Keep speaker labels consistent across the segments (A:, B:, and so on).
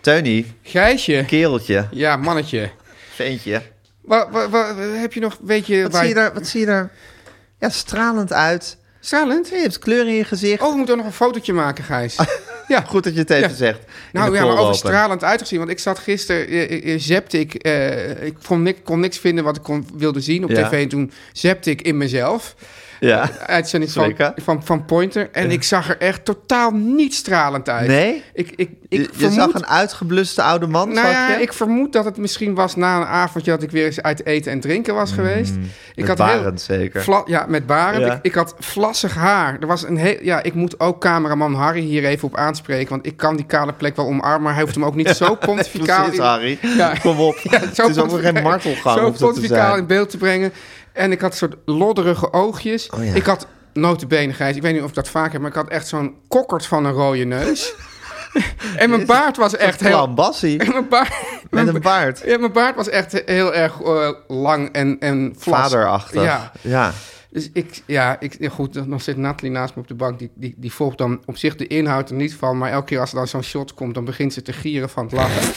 A: Tony,
B: Gijsje.
A: kereltje,
B: Ja, mannetje.
A: ventje.
B: Wat, wat, wat- heb je nog, weet je...
A: Wat
B: waar
A: zie je daar? Wat zie je daar? Ja, stralend uit.
B: Stralend?
A: Je hebt kleur in je gezicht.
B: Oh, we moeten ook nog een fotootje maken, Gijs. ja,
A: Ah, Goed dat je het even
B: Ja.
A: zegt. In
B: Nou
A: de
B: ja, maar
A: call
B: over
A: open.
B: stralend uitgezien. Want ik zat gisteren, eh, eh, zepte ik... eh, ik kon, niks, kon niks vinden wat ik kon, wilde zien op
A: Ja.
B: tv. En toen zepte ik in mezelf. Eh,
A: Ja.
B: Uitzending van,
A: Zeker.
B: van, van Pointer. En ik zag er echt totaal niet stralend uit.
A: Nee?
B: Ik, ik, ik
A: Je, je
B: vermoed...
A: zag een uitgebluste oude man,
B: Nou
A: zag
B: ja,
A: je?
B: ik vermoed dat het misschien was na een avondje dat ik weer eens uit eten en drinken was geweest. Ik
A: Mm, met Barend zeker.
B: vla- ja, met Barend.
A: Ja.
B: Ik, ik had vlassig haar. Er was een heel, ja, ik moet ook cameraman Harry hier even op aanspreken, want ik kan die kale plek wel omarmen, maar hij hoeft hem ook niet zo pontificaal.
A: Precies,
B: in-
A: Harry.
B: Ja.
A: Kom op.
B: Ja, zo
A: het is ook nog geen
B: pontificaal-
A: martelgang.
B: Zo
A: hoeft dat te
B: pontificaal
A: zijn.
B: in beeld te brengen. En ik had soort lodderige oogjes.
A: Oh ja.
B: Ik had notenbenen, Gijs. Ik weet niet of ik dat vaak heb, maar ik had echt zo'n kokkert van een rode neus. en mijn baard was echt heel...
A: Klambassie.
B: Mijn baard,
A: Met een baard.
B: ja, mijn baard was echt heel erg eh, lang en, en vlas.
A: Vaderachtig.
B: Ja,
A: ja.
B: dus ik, ja, ik, ja, goed, dan dan zit Nathalie naast me op de bank. Die, die, die volgt dan op zich de inhoud er niet van. Maar elke keer als er dan zo'n shot komt, dan begint ze te gieren van het lachen.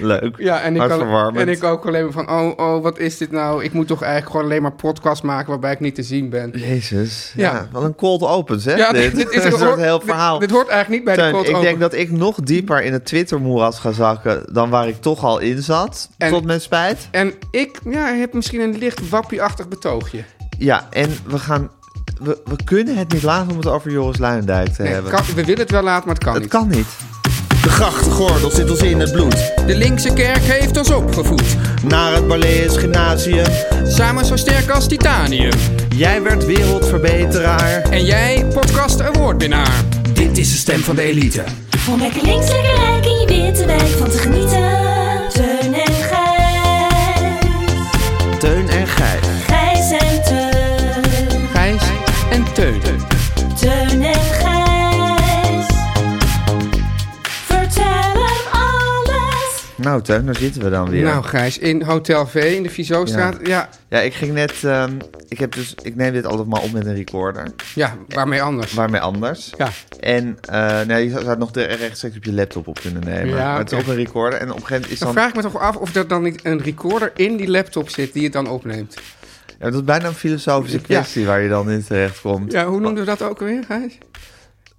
A: Leuk.
B: Ja, en ik, kan,
A: Hartverwarmend.
B: en ik ook alleen maar van, oh, oh, wat is dit nou? Ik moet toch eigenlijk gewoon alleen maar podcast maken waarbij ik niet te zien ben.
A: Jezus. Ja.
B: Ja.
A: Wat een cold open, hè?
B: Ja,
A: dit. is een soort
B: hoort-
A: heel
B: dit-
A: verhaal.
B: Dit, hoort eigenlijk niet bij
A: Teun,
B: de cold
A: ik
B: open.
A: denk dat ik nog dieper in het Twitter-moeras ga zakken dan waar ik toch al in zat.
B: En-
A: Tot mijn spijt.
B: En ik ja, heb misschien een licht wappieachtig betoogje.
A: Ja, en we gaan. We, we kunnen het niet laten om het over Joris Luijendijk te
B: Nee,
A: hebben.
B: kan- we willen het wel laten, maar het kan
A: het
B: niet.
A: kan niet.
C: De grachtgordel zit ons in het bloed.
B: De linkse kerk heeft ons opgevoed.
C: Naar het Balees Gymnasium.
B: Samen zo sterk als titanium.
A: Jij werd wereldverbeteraar.
B: En jij, podcast awardwinnaar.
C: Dit is de stem van de elite.
D: Om lekker links, lekker rijk in je witte wijk van te genieten. Teun en Gijs.
A: Teun en Gijs.
D: Gijs en Teun.
B: Gijs en Teun.
D: Teun en Gijs. Vertel hem alles.
A: Nou, Teun, daar zitten we dan weer.
B: Nou Gijs, in Hotel V in de Vizostraat. Ja.
A: Ja, ik ging net. ehm, ik, heb dus, ik neem dit altijd maar op met een recorder.
B: Ja, waarmee anders?
A: Waarmee anders.
B: Ja.
A: En eh nee, je zou zou het nog de- rechtstreeks op je laptop op kunnen nemen.
B: Ja,
A: maar het is
B: oké.
A: op een recorder. En op een gegeven moment is
B: Dan
A: dan.
B: vraag ik me toch af of er dan niet een recorder in die laptop zit die het dan opneemt.
A: Ja, dat is bijna een filosofische kwestie waar je dan in terecht komt.
B: Ja, hoe noemden we dat ook alweer, Gijs?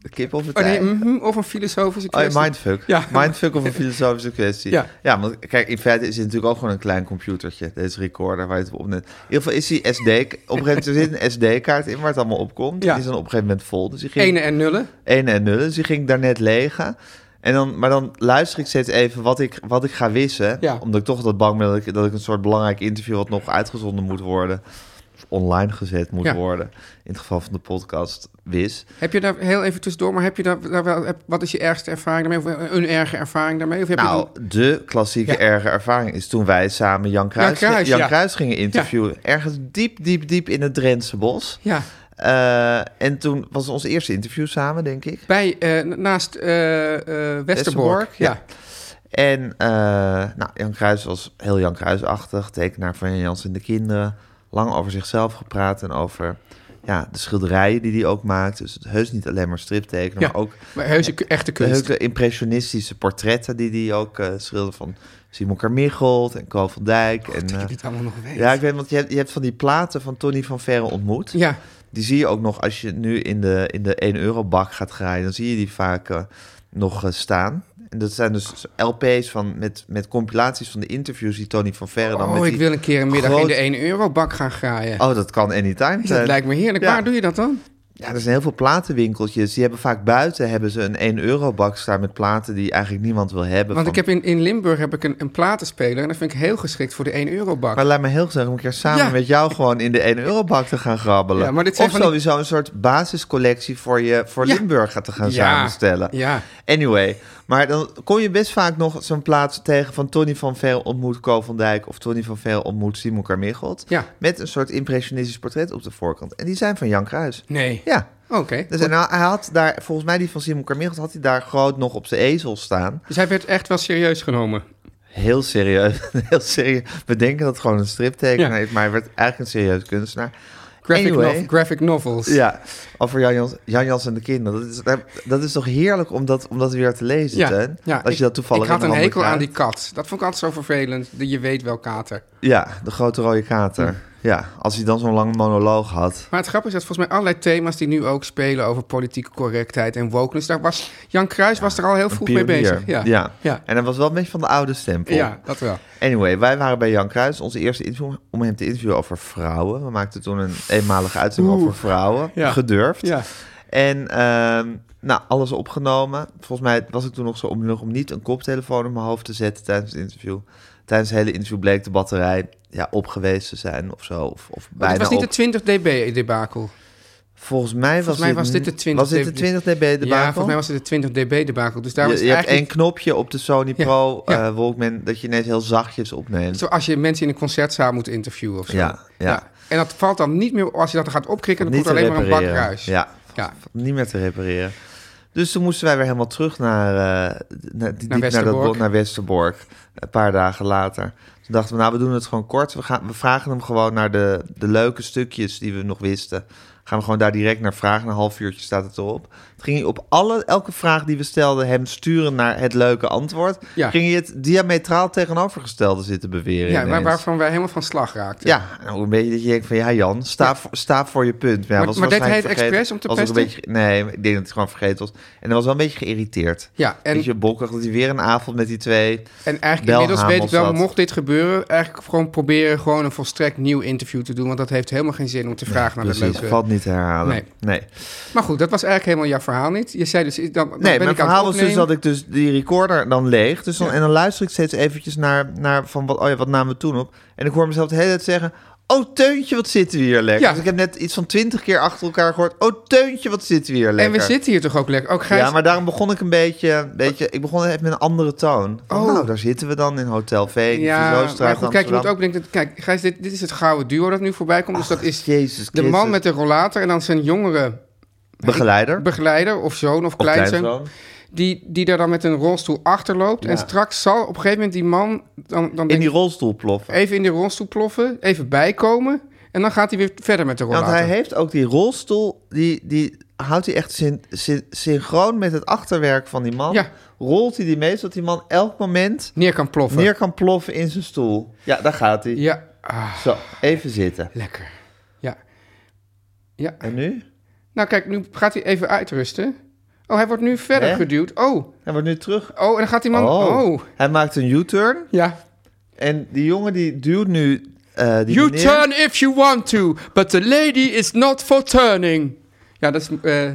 A: Kip of het
B: Oh, nee,
A: ei?
B: mhm, of een filosofische
A: Oh, ja,
B: kwestie.
A: mindfuck.
B: Ja.
A: Mindfuck of een filosofische kwestie.
B: Ja.
A: want kijk, in feite is het natuurlijk ook gewoon een klein computertje, deze recorder waar je het op opneemt. In ieder geval is die SD, op een gegeven moment er zit een SD-kaart in waar het allemaal opkomt.
B: Ja.
A: Die is dan op een gegeven moment vol. Dus die ging,
B: Ene en nullen.
A: Ene en nullen, dus die ging ik daarnet legen. En dan, maar dan luister ik steeds even wat ik, wat ik ga wissen.
B: Ja.
A: Omdat ik toch altijd bang ben dat ik, dat ik een soort belangrijk interview... wat nog uitgezonden moet worden, of online gezet moet
B: Ja.
A: worden... in het geval van de podcast, wis.
B: Heb je daar heel even tussendoor, maar heb je daar, daar wel, heb- wat is je ergste ervaring daarmee? Of een erge ervaring daarmee? Of heb je
A: Nou,
B: dan-
A: de klassieke
B: Ja.
A: erge ervaring is toen wij samen Jan Kruis, Jan Kruis,
B: Kruis, ja.
A: gingen interviewen. Ergens diep, diep, diep in het Drentse bos.
B: ja,
A: Eh, en toen was ons eerste interview samen, denk ik.
B: bij, eh, naast eh, eh, Westerbork.
A: Westerbork, ja.
B: ja.
A: En eh, nou, Jan Kruis was heel Jan Kruisachtig, tekenaar van Jan Jans en de kinderen. Lang over zichzelf gepraat en over ja, de schilderijen die hij ook maakt. Dus het heus niet alleen maar striptekenen,
B: Ja.
A: maar ook
B: Maar heuse k- echte
A: de
B: kunst.
A: hele impressionistische portretten die hij ook eh schilderde van Simon Carmichelt en Ko
B: Oh,
A: van Dijk. en, eh,
B: dit allemaal nog weet.
A: Ja, ik weet, want je hebt, je hebt van die platen van Tony van Verre ontmoet.
B: Ja,
A: die zie je ook nog als je nu in de, in de 1 euro bak gaat graaien. Dan zie je die vaak eh, nog eh, staan. En dat zijn dus LP's van, met, met compilaties van de interviews die Tony van Verre dan met
B: Oh, ik
A: die-
B: wil een keer een middag in
A: groot-
B: de 1 euro bak gaan graaien.
A: Oh, dat kan anytime
B: dat
A: zijn.
B: lijkt me heerlijk.
A: Ja.
B: Waar doe je dat dan?
A: Ja, er zijn heel veel platenwinkeltjes. Die hebben vaak buiten hebben ze een 1 euro bak staan met platen die eigenlijk niemand wil hebben.
B: Want
A: van-
B: ik heb in, in Limburg heb ik een, een platenspeler en dat vind ik heel geschikt voor de 1 euro bak.
A: Maar laat me heel gezellig om een keer samen
B: Ja.
A: met jou gewoon in de 1 euro bak te gaan grabbelen.
B: Ja, maar dit zijn
A: of
B: van die-
A: sowieso een soort basiscollectie voor, je, voor
B: Ja.
A: Limburg gaat te gaan
B: Ja.
A: samenstellen.
B: Ja.
A: Anyway, maar dan kom je best vaak nog zo'n plaats tegen van Tony van Veel ontmoet Co van Dijk of Tony van Veel ontmoet Simon Carmichelt.
B: Ja.
A: Met een soort impressionistisch portret op de voorkant. En die zijn van Jan Kruis.
B: Nee.
A: Ja.
B: Oké.
A: Dus en hij had daar, volgens mij die van Simon Carmichelt, had hij daar groot nog op zijn ezel staan.
B: Dus hij werd echt wel serieus genomen.
A: Heel serieus, heel serieus. We denken dat het gewoon een striptekenaar
B: Ja.
A: is, maar hij werd eigenlijk een serieus kunstenaar.
B: Graphic,
A: Anyway.
B: nov- graphic novels.
A: Ja, over Jan Jans, Jan Jans en de kinderen. Dat is, daar- dat is toch heerlijk om dat, om dat weer te lezen, Teun? Als
B: ik-
A: je dat toevallig
B: Ik had
A: in de
B: een
A: handen
B: hekel aan die
A: krijgt.
B: kat. Dat vond ik altijd zo vervelend. De, je weet wel, kater.
A: Ja, de grote rode kater. Ja, als hij dan zo'n lange monoloog had.
B: Maar het grappige is dat volgens mij allerlei thema's die nu ook spelen over politieke correctheid en wokeness, daar was Jan Kruis was er al heel vroeg mee
A: Pionier.
B: bezig. Ja.
A: ja.
B: Ja.
A: En hij was wel een beetje van de oude stempel.
B: Ja, dat wel.
A: Anyway, wij waren bij Jan Kruis, onze eerste interview, om hem te interviewen over vrouwen. We maakten toen een eenmalige uitzending over vrouwen,
B: Ja.
A: gedurfd.
B: Ja.
A: En ehm, nou, alles opgenomen. Volgens mij was ik toen nog zo om nog om niet een koptelefoon op mijn hoofd te zetten tijdens het interview. Tijdens het hele interview bleek de batterij ja, op geweest te zijn of zo. Of, of
B: Maar
A: bijna
B: het was niet
A: op.
B: de 20 dB debakel.
A: Volgens mij,
B: Volgens mij was dit de 20
A: Was dit de 20 dB debakel?
B: Ja, volgens mij was het de 20 dB debakel. Dus daar
A: je
B: was
A: je
B: het
A: hebt één
B: eigenlijk
A: knopje op de Sony
B: Ja,
A: Pro
B: ja.
A: eh, Walkman dat je ineens heel zachtjes opneemt.
B: zoals je mensen in een concertzaal moet interviewen of zo.
A: Ja, ja.
B: En dat valt dan niet meer, als je dat gaat opkrikken, dan
A: Niet
B: komt
A: te
B: alleen maar een bak
A: repareren.
B: ruis.
A: Ja,
B: Ja.
A: niet meer te repareren. Dus toen moesten wij weer helemaal terug naar, eh, naar, die, naar, naar, dat,
B: Westerbork.
A: bord- naar Westerbork. Een paar dagen later. Toen dachten we, nou, we doen het gewoon kort. We, gaan, we vragen hem gewoon naar de, de leuke stukjes die we nog wisten. Gaan we gewoon daar direct naar vragen. Een half uurtje staat het erop. Het ging hij op alle, elke vraag die we stelden hem sturen naar het leuke antwoord.
B: Ja.
A: Ging hij het diametraal tegenovergestelde zitten beweren.
B: Ja, maar
A: ineens.
B: waarvan wij helemaal van slag raakten.
A: Ja, nou, een beetje dat je denkt van ja Jan, sta, voor, sta voor je punt. Maar, ja,
B: Maar-
A: was
B: maar deed hij het
A: waarschijnlijk vergeten-
B: expres om te
A: was ook een
B: pesten?
A: beetje, Nee, ik denk dat hij gewoon vergeten was. En hij was wel een beetje geïrriteerd.
B: Ja, en-
A: en... Beetje bokkig dat hij weer een avond met die twee...
B: En eigenlijk inmiddels
A: belhamels
B: weet ik wel,
A: had.
B: mocht dit gebeuren, eigenlijk gewoon proberen gewoon een volstrekt nieuw interview te doen. Want dat heeft helemaal geen zin om te vragen naar de
A: Precies,
B: leuke.
A: valt niet te herhalen.
B: Nee.
A: nee.
B: Maar goed, dat was eigenlijk helemaal jouw verhaal niet. Je zei dus, dan, dan
A: Nee,
B: ben ik aan
A: mijn
B: het
A: verhaal was dus
B: opnemen.
A: dat ik dus die recorder dan leeg. Dus dan,
B: Ja.
A: En dan luister ik steeds eventjes naar, naar van wat, oh ja, wat namen we toen op. En ik hoor mezelf de hele tijd zeggen... Oh, Teuntje, wat zitten we hier lekker.
B: Ja.
A: Dus ik heb net iets van twintig keer achter elkaar gehoord. Oh, Teuntje, wat zitten we hier lekker.
B: En we zitten hier toch ook lekker. Ook Gijs,
A: Ja, maar daarom begon ik een beetje, een beetje ik begon even met een andere toon. Van,
B: Oh.
A: Nou, daar zitten we dan in Hotel V, in
B: Ja,
A: ja,
B: maar goed,
A: Vizoostraat,
B: kijk, je moet ook denken, dat- kijk, Gijs, dit, dit is het gouden duo dat nu voorbij komt. Dus dat is
A: Jezus
B: de
A: Christus.
B: man met de rollator en dan zijn jongere
A: Begeleider.
B: begeleider of zoon of
A: Of
B: kleinzoon.
A: kleinzoon.
B: Die, die daar dan met een rolstoel achterloopt. En straks zal op een gegeven moment die man dan, dan
A: in
B: denk
A: die rolstoel ploffen.
B: even in die rolstoel ploffen, even bijkomen. En dan gaat hij weer verder met de
A: Want
B: rollator.
A: hij heeft ook die rolstoel, die, die houdt hij echt syn- syn- synchroon met het achterwerk van die man.
B: Ja.
A: Rolt hij die mee, zodat die man elk moment
B: neer kan ploffen.
A: neer kan ploffen in zijn stoel. Ja, daar gaat hij.
B: Ja, ah,
A: Zo, even zitten.
B: lekker. Ja. ja.
A: En nu?
B: Nou kijk, nu gaat hij even uitrusten. Oh, hij wordt nu verder
A: Hè?
B: geduwd. Oh,
A: Hij wordt nu terug.
B: oh, en dan gaat die man... Oh.
A: Hij maakt een U-turn.
B: Ja.
A: En die jongen die duwt nu... eh die
B: You
A: meneer-
B: turn if you want to, but the lady is not for turning. Ja, dat is... eh,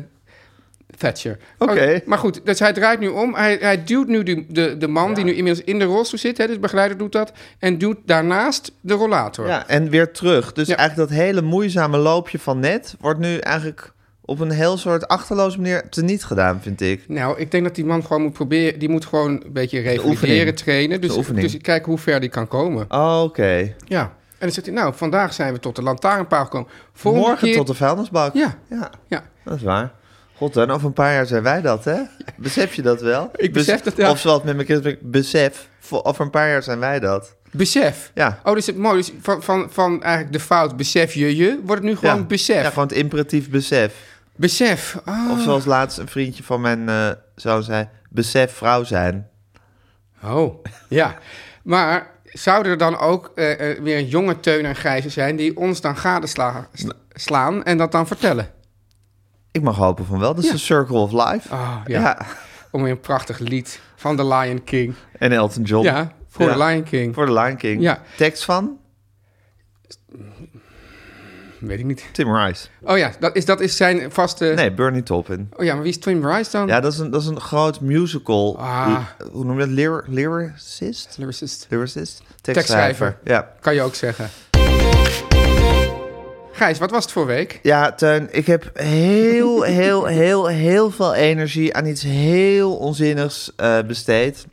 B: Thatcher.
A: Oké.
B: Oh, maar goed, dus hij draait nu om. Hij, hij duwt nu de, de, de man die nu inmiddels in de rolstoel zit. Hè, dus de begeleider doet dat. En duwt daarnaast de rollator.
A: Ja, en weer terug. Dus
B: Ja.
A: eigenlijk dat hele moeizame loopje van net wordt nu eigenlijk op een heel soort achterloze manier teniet gedaan, vind ik.
B: Nou, ik denk dat die man gewoon moet proberen... Die moet gewoon een beetje revalideren,
A: oefening.
B: trainen. Dus,
A: De oefening. Ah.
B: dus kijk hoe ver die kan komen.
A: Oké.
B: Ja. En dan zegt hij, nou, vandaag zijn we tot de lantaarnpaal gekomen. Volgende
A: Morgen
B: keer-
A: tot de vuilnisbak.
B: Ja.
A: ja.
B: Ja.
A: Dat is waar. God, en over een paar jaar zijn wij dat, hè? Besef je dat wel?
B: Ik besef dat, ja.
A: Of zoals met mijn kinderen, besef. Voor- Over een paar jaar zijn wij dat.
B: Besef.
A: Ja.
B: Oh, dus het mooi. Dus van, van, van eigenlijk de fout besef je je, wordt het nu gewoon
A: ja.
B: besef.
A: Ja, gewoon het imperatief besef.
B: Besef. Ah.
A: Of zoals laatst een vriendje van mijn eh, zoon zei, besef vrouw zijn.
B: Oh, ja. Maar zou er dan ook eh, eh, weer een jonge Teun en Gijzen zijn... die ons dan gadeslaan slaan en dat dan vertellen?
A: Ik mag hopen van wel. Dat is de Circle of Life.
B: Oh, ja. Om weer een prachtig lied van The Lion King.
A: En Elton John.
B: Ja, voor
A: Ja.
B: The Lion King.
A: Voor de Lion King.
B: Ja.
A: Tekst van
B: Weet ik niet.
A: Tim Rice.
B: Oh ja, dat is, dat is zijn vaste...
A: Nee, Bernie Taupin.
B: Oh ja, maar wie is Twin Rice dan?
A: Ja, dat is een, dat is een groot musical.
B: Ah.
A: l- Hoe noem je dat? Lyr- lyricist?
B: Lyricist.
A: Lyricist?
B: Tekstschrijver.
A: Ja.
B: Kan je ook zeggen. Gijs, wat was het voor week?
A: Ja, Teun, ik heb heel, heel, heel, heel veel energie aan iets heel onzinnigs eh, besteed.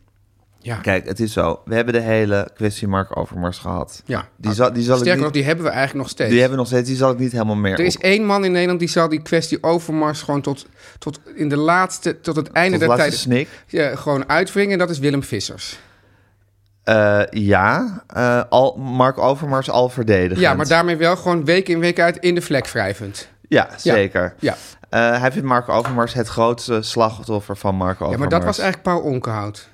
B: Ja.
A: Kijk, het is zo. We hebben de hele kwestie Mark Overmars gehad.
B: Ja.
A: Die zal, die zal
B: Sterker
A: ik
B: nog,
A: niet,
B: die hebben we eigenlijk nog steeds.
A: die hebben we nog steeds. Die zal ik niet helemaal meer
B: Er is
A: op-
B: één man in Nederland die zal die kwestie overmars gewoon tot, tot in de laatste, tot het einde
A: tot de
B: der
A: laatste
B: tijd
A: snik.
B: ja, gewoon uitwringen. En dat is Willem Vissers.
A: Eh, ja, eh, al, Mark Overmars al verdedigend.
B: Ja, maar daarmee wel gewoon week in week uit in de vlek wrijvend.
A: Ja, zeker.
B: Ja.
A: Eh, hij vindt Mark Overmars het grootste slachtoffer van Mark Overmars.
B: Ja, maar dat was eigenlijk Paul Onkenhout.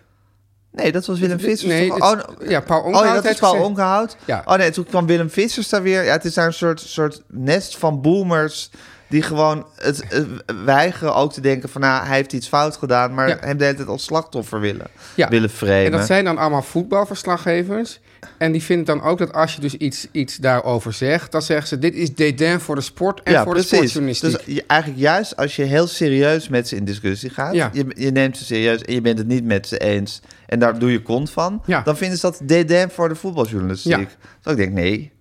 A: Nee, dat was Willem Vissers.
B: nee,
A: toch?
B: dit-
A: no-
B: ja, Paul
A: Oh,
B: Onkenhout
A: ja, dat is
B: heeft
A: Paul
B: gezegd-
A: Onkenhout.
B: Ja.
A: Oh nee, toen kwam Willem Vissers daar weer. Ja, het is daar een soort, soort nest van boomers... die gewoon het, eh, weigeren ook te denken van... nou, hij heeft iets fout gedaan... maar
B: Ja.
A: hem de hele tijd als slachtoffer willen,
B: Ja.
A: willen framen.
B: En dat zijn dan allemaal voetbalverslaggevers. En die vinden dan ook dat als je dus iets, iets daarover zegt, dan zeggen ze: dit is dédain voor de sport en voor de sportjournalistiek.
A: Dus je- eigenlijk juist als je heel serieus met ze in discussie gaat...
B: Ja.
A: Je, je neemt ze serieus en je bent het niet met ze eens... en daar doe je kont van...
B: Ja.
A: dan vinden ze dat dédain voor de voetbaljournalistiek.
B: Ja.
A: Dus ik denk, nee,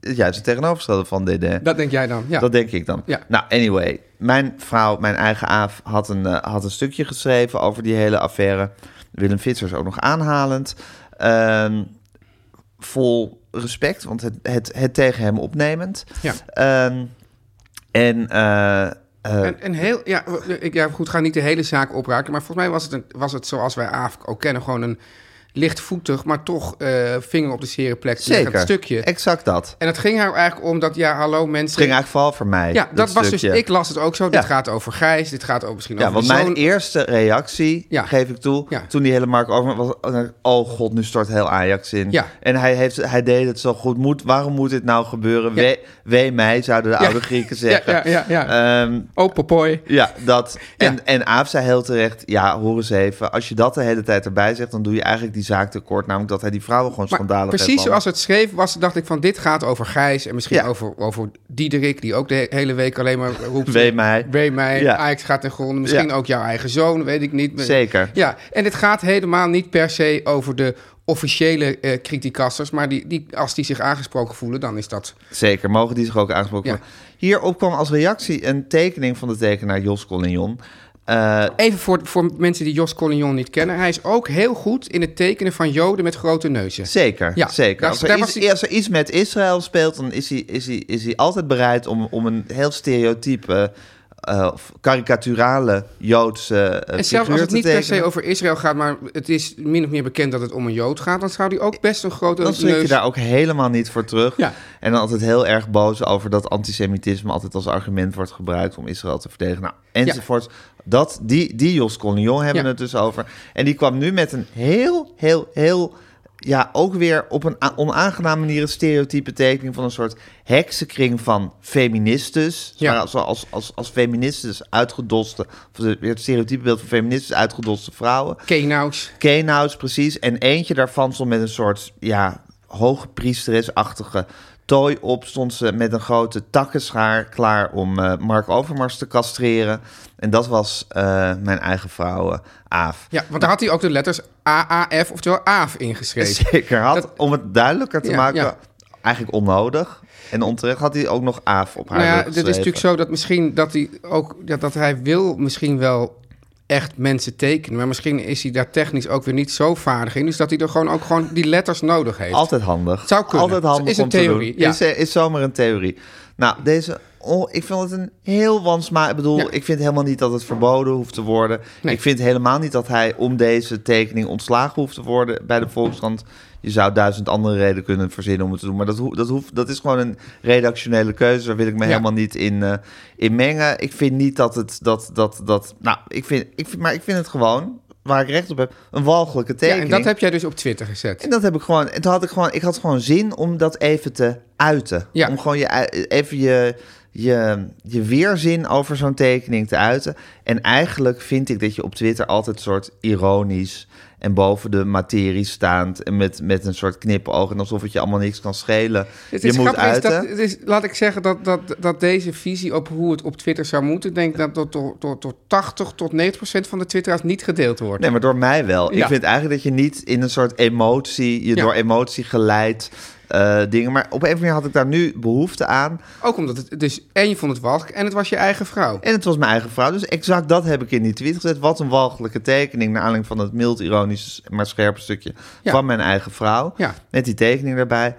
A: het is juist het tegenovergestelde van dédain.
B: dat denk jij dan? Ja.
A: Dat denk ik dan.
B: Ja.
A: Nou, anyway. Mijn vrouw, mijn eigen Aaf, had een, eh, had een stukje geschreven over die hele affaire. Willem Vissers ook nog aanhalend. Ehm, vol respect, want het, het, het tegen hem opnemend.
B: Ja.
A: Ehm, en eh, eh,
B: En, en heel, ja, ik ja, goed, ga niet de hele zaak opraken. Maar volgens mij was het, een, was het zoals wij AFK ook kennen, gewoon een lichtvoetig, maar toch eh, vinger op de zere plek
A: zeker.
B: leggend stukje.
A: Exact dat.
B: en het ging haar eigenlijk om dat, ja, hallo
A: Het
B: mensen.
A: ging eigenlijk vooral voor mij.
B: ja, dat, was dus,
A: stukje.
B: ik las het ook zo.
A: Ja.
B: Dit gaat over Gijs, dit gaat over misschien
A: Ja,
B: over
A: want
B: de
A: mijn
B: zoon.
A: eerste reactie,
B: Nou, Ja.
A: geef ik toe,
B: Ja.
A: toen die hele Mark over was, eh, oh god, nu stort heel Ajax in.
B: Ja.
A: En hij, heeft, hij deed het zo goed. Moet, waarom moet dit nou gebeuren? Wee, wee mij, zouden de
B: Ja.
A: oude Grieken zeggen.
B: Ja, ja, ja,
A: Ehm,
B: Oh, popoi.
A: ja, dat.
B: Ja.
A: En, en Aaf zei heel terecht, ja, hoor eens even. Als je dat de hele tijd erbij zegt, dan doe je eigenlijk die zaak tekort. Namelijk dat hij die vrouwen gewoon
B: Maar
A: schandalig heeft
B: precies zoals
A: behandeld.
B: het schreef was, dacht ik van dit gaat over Gijs en misschien
A: Ja.
B: over, over Diederik, die ook de he- hele week alleen maar roept...
A: Wee mij.
B: Wee mij,
A: Ja.
B: Ajax gaat ten gronde. Misschien
A: Ja.
B: ook jouw eigen zoon, weet ik niet.
A: Zeker.
B: Ja, en het gaat helemaal niet per se over de officiële eh criticasters, maar die, die, als die zich aangesproken voelen, dan is dat...
A: Zeker, mogen die zich ook aangesproken
B: Ja.
A: worden. Hierop kwam als reactie een tekening van de tekenaar Jos Collignon. Eh,
B: Even voor, voor mensen die Jos Collignon niet kennen, hij is ook heel goed in het tekenen van joden met grote neuzen.
A: Zeker,
B: Ja,
A: zeker.
B: daar-
A: Als er,
B: daar
A: iets,
B: was hij-
A: als er iets met Israël speelt, dan is hij, is hij, is hij altijd bereid om, om een heel stereotype, eh, of karikaturale Joodse eh,
B: En zelfs
A: figuur
B: als het
A: te
B: niet per se
A: tekenen.
B: over Israël gaat, maar het is min of meer bekend dat het om een Jood gaat, dan zou die ook best een grote
A: Dan schrik je
B: neus-
A: daar ook helemaal niet voor terug.
B: Ja.
A: En dan altijd heel erg boos over dat antisemitisme altijd als argument wordt gebruikt om Israël te verdedigen. Nou, enzovoort. Dat, die, die Jos Collignon hebben
B: Ja.
A: het dus over. En die kwam nu met een heel, heel, heel... Ja, ook weer op een a- onaangename manier een stereotype tekening van een soort heksenkring van feministes.
B: Ja.
A: Maar als, als, als, als feministes uitgedoste, of de- weer het stereotype beeld van feministes uitgedoste vrouwen.
B: Kenauws.
A: Keenhouse, precies. En eentje daarvan stond met een soort ja, hoge priesteresachtige tooi op. Stond ze met een grote takkenschaar klaar om eh, Mark Overmars te castreren. En dat was eh, mijn eigen vrouw, eh, Aaf.
B: Ja, want daar had hij ook de letters AAF, oftewel AAF, ingeschreven.
A: Zeker had,
B: Dat-
A: om het duidelijker te
B: Ja,
A: maken,
B: ja.
A: eigenlijk onnodig. En onterecht had hij ook nog Aaf op haar
B: Nou ja,
A: rug
B: het is
A: geschreven.
B: natuurlijk zo dat misschien dat hij ook ja, dat hij wil misschien wel echt mensen tekenen, maar misschien is hij daar technisch ook weer niet zo vaardig in, dus dat hij er gewoon ook gewoon die letters nodig heeft.
A: Altijd handig.
B: Zou kunnen.
A: Altijd handig
B: Is een
A: om te
B: theorie,
A: doen.
B: ja.
A: Is, eh, is zomaar een theorie. Nou, deze... Oh, ik vind het een heel wansma. Ik bedoel,
B: Ja.
A: ik vind helemaal niet dat het verboden hoeft te worden.
B: Nee.
A: Ik vind helemaal niet dat hij om deze tekening ontslagen hoeft te worden bij de Volkskrant. Je zou duizend andere redenen kunnen verzinnen om het te doen. Maar dat, hoeft- dat, hoeft, dat is gewoon een redactionele keuze. Daar wil ik me
B: Ja.
A: helemaal niet in, eh, in mengen. Ik vind niet dat het... Dat, dat, dat, nou, ik vind, ik vind, maar ik vind het gewoon waar ik recht op heb, een walgelijke
B: Ja,
A: tekening.
B: en dat heb jij dus op Twitter gezet.
A: En dat heb ik gewoon. En toen had ik gewoon. Ik had gewoon zin om dat even te uiten.
B: Ja.
A: Om gewoon je, ui- even je, je, je weerzin over zo'n tekening te uiten. En eigenlijk vind ik dat je op Twitter altijd een soort ironisch en boven de materie staand. En met, met een soort knipoog. En alsof het je allemaal niks kan schelen.
B: Het
A: je
B: is
A: moet
B: grappig, is
A: uiten.
B: dat, het is, laat ik zeggen dat, dat, dat deze visie op hoe het op Twitter zou moeten, denk ik dat tot, tot, tot, tot 80 tot 90 procent van de Twitteraars niet gedeeld wordt.
A: Nee, maar door mij wel.
B: Ja.
A: Ik vind eigenlijk dat je niet in een soort emotie, je
B: Ja.
A: door emotie geleid eh, dingen. Maar op een of andere manier had ik daar nu behoefte aan.
B: Ook omdat het dus, en je vond het walgelijk en het was je eigen vrouw.
A: En het was mijn eigen vrouw. Dus exact dat heb ik in die tweet gezet. Wat een walgelijke tekening. Naar aanleiding van dat mild ironisch, maar scherpe stukje
B: Ja.
A: van mijn eigen vrouw.
B: Ja.
A: Met die tekening daarbij.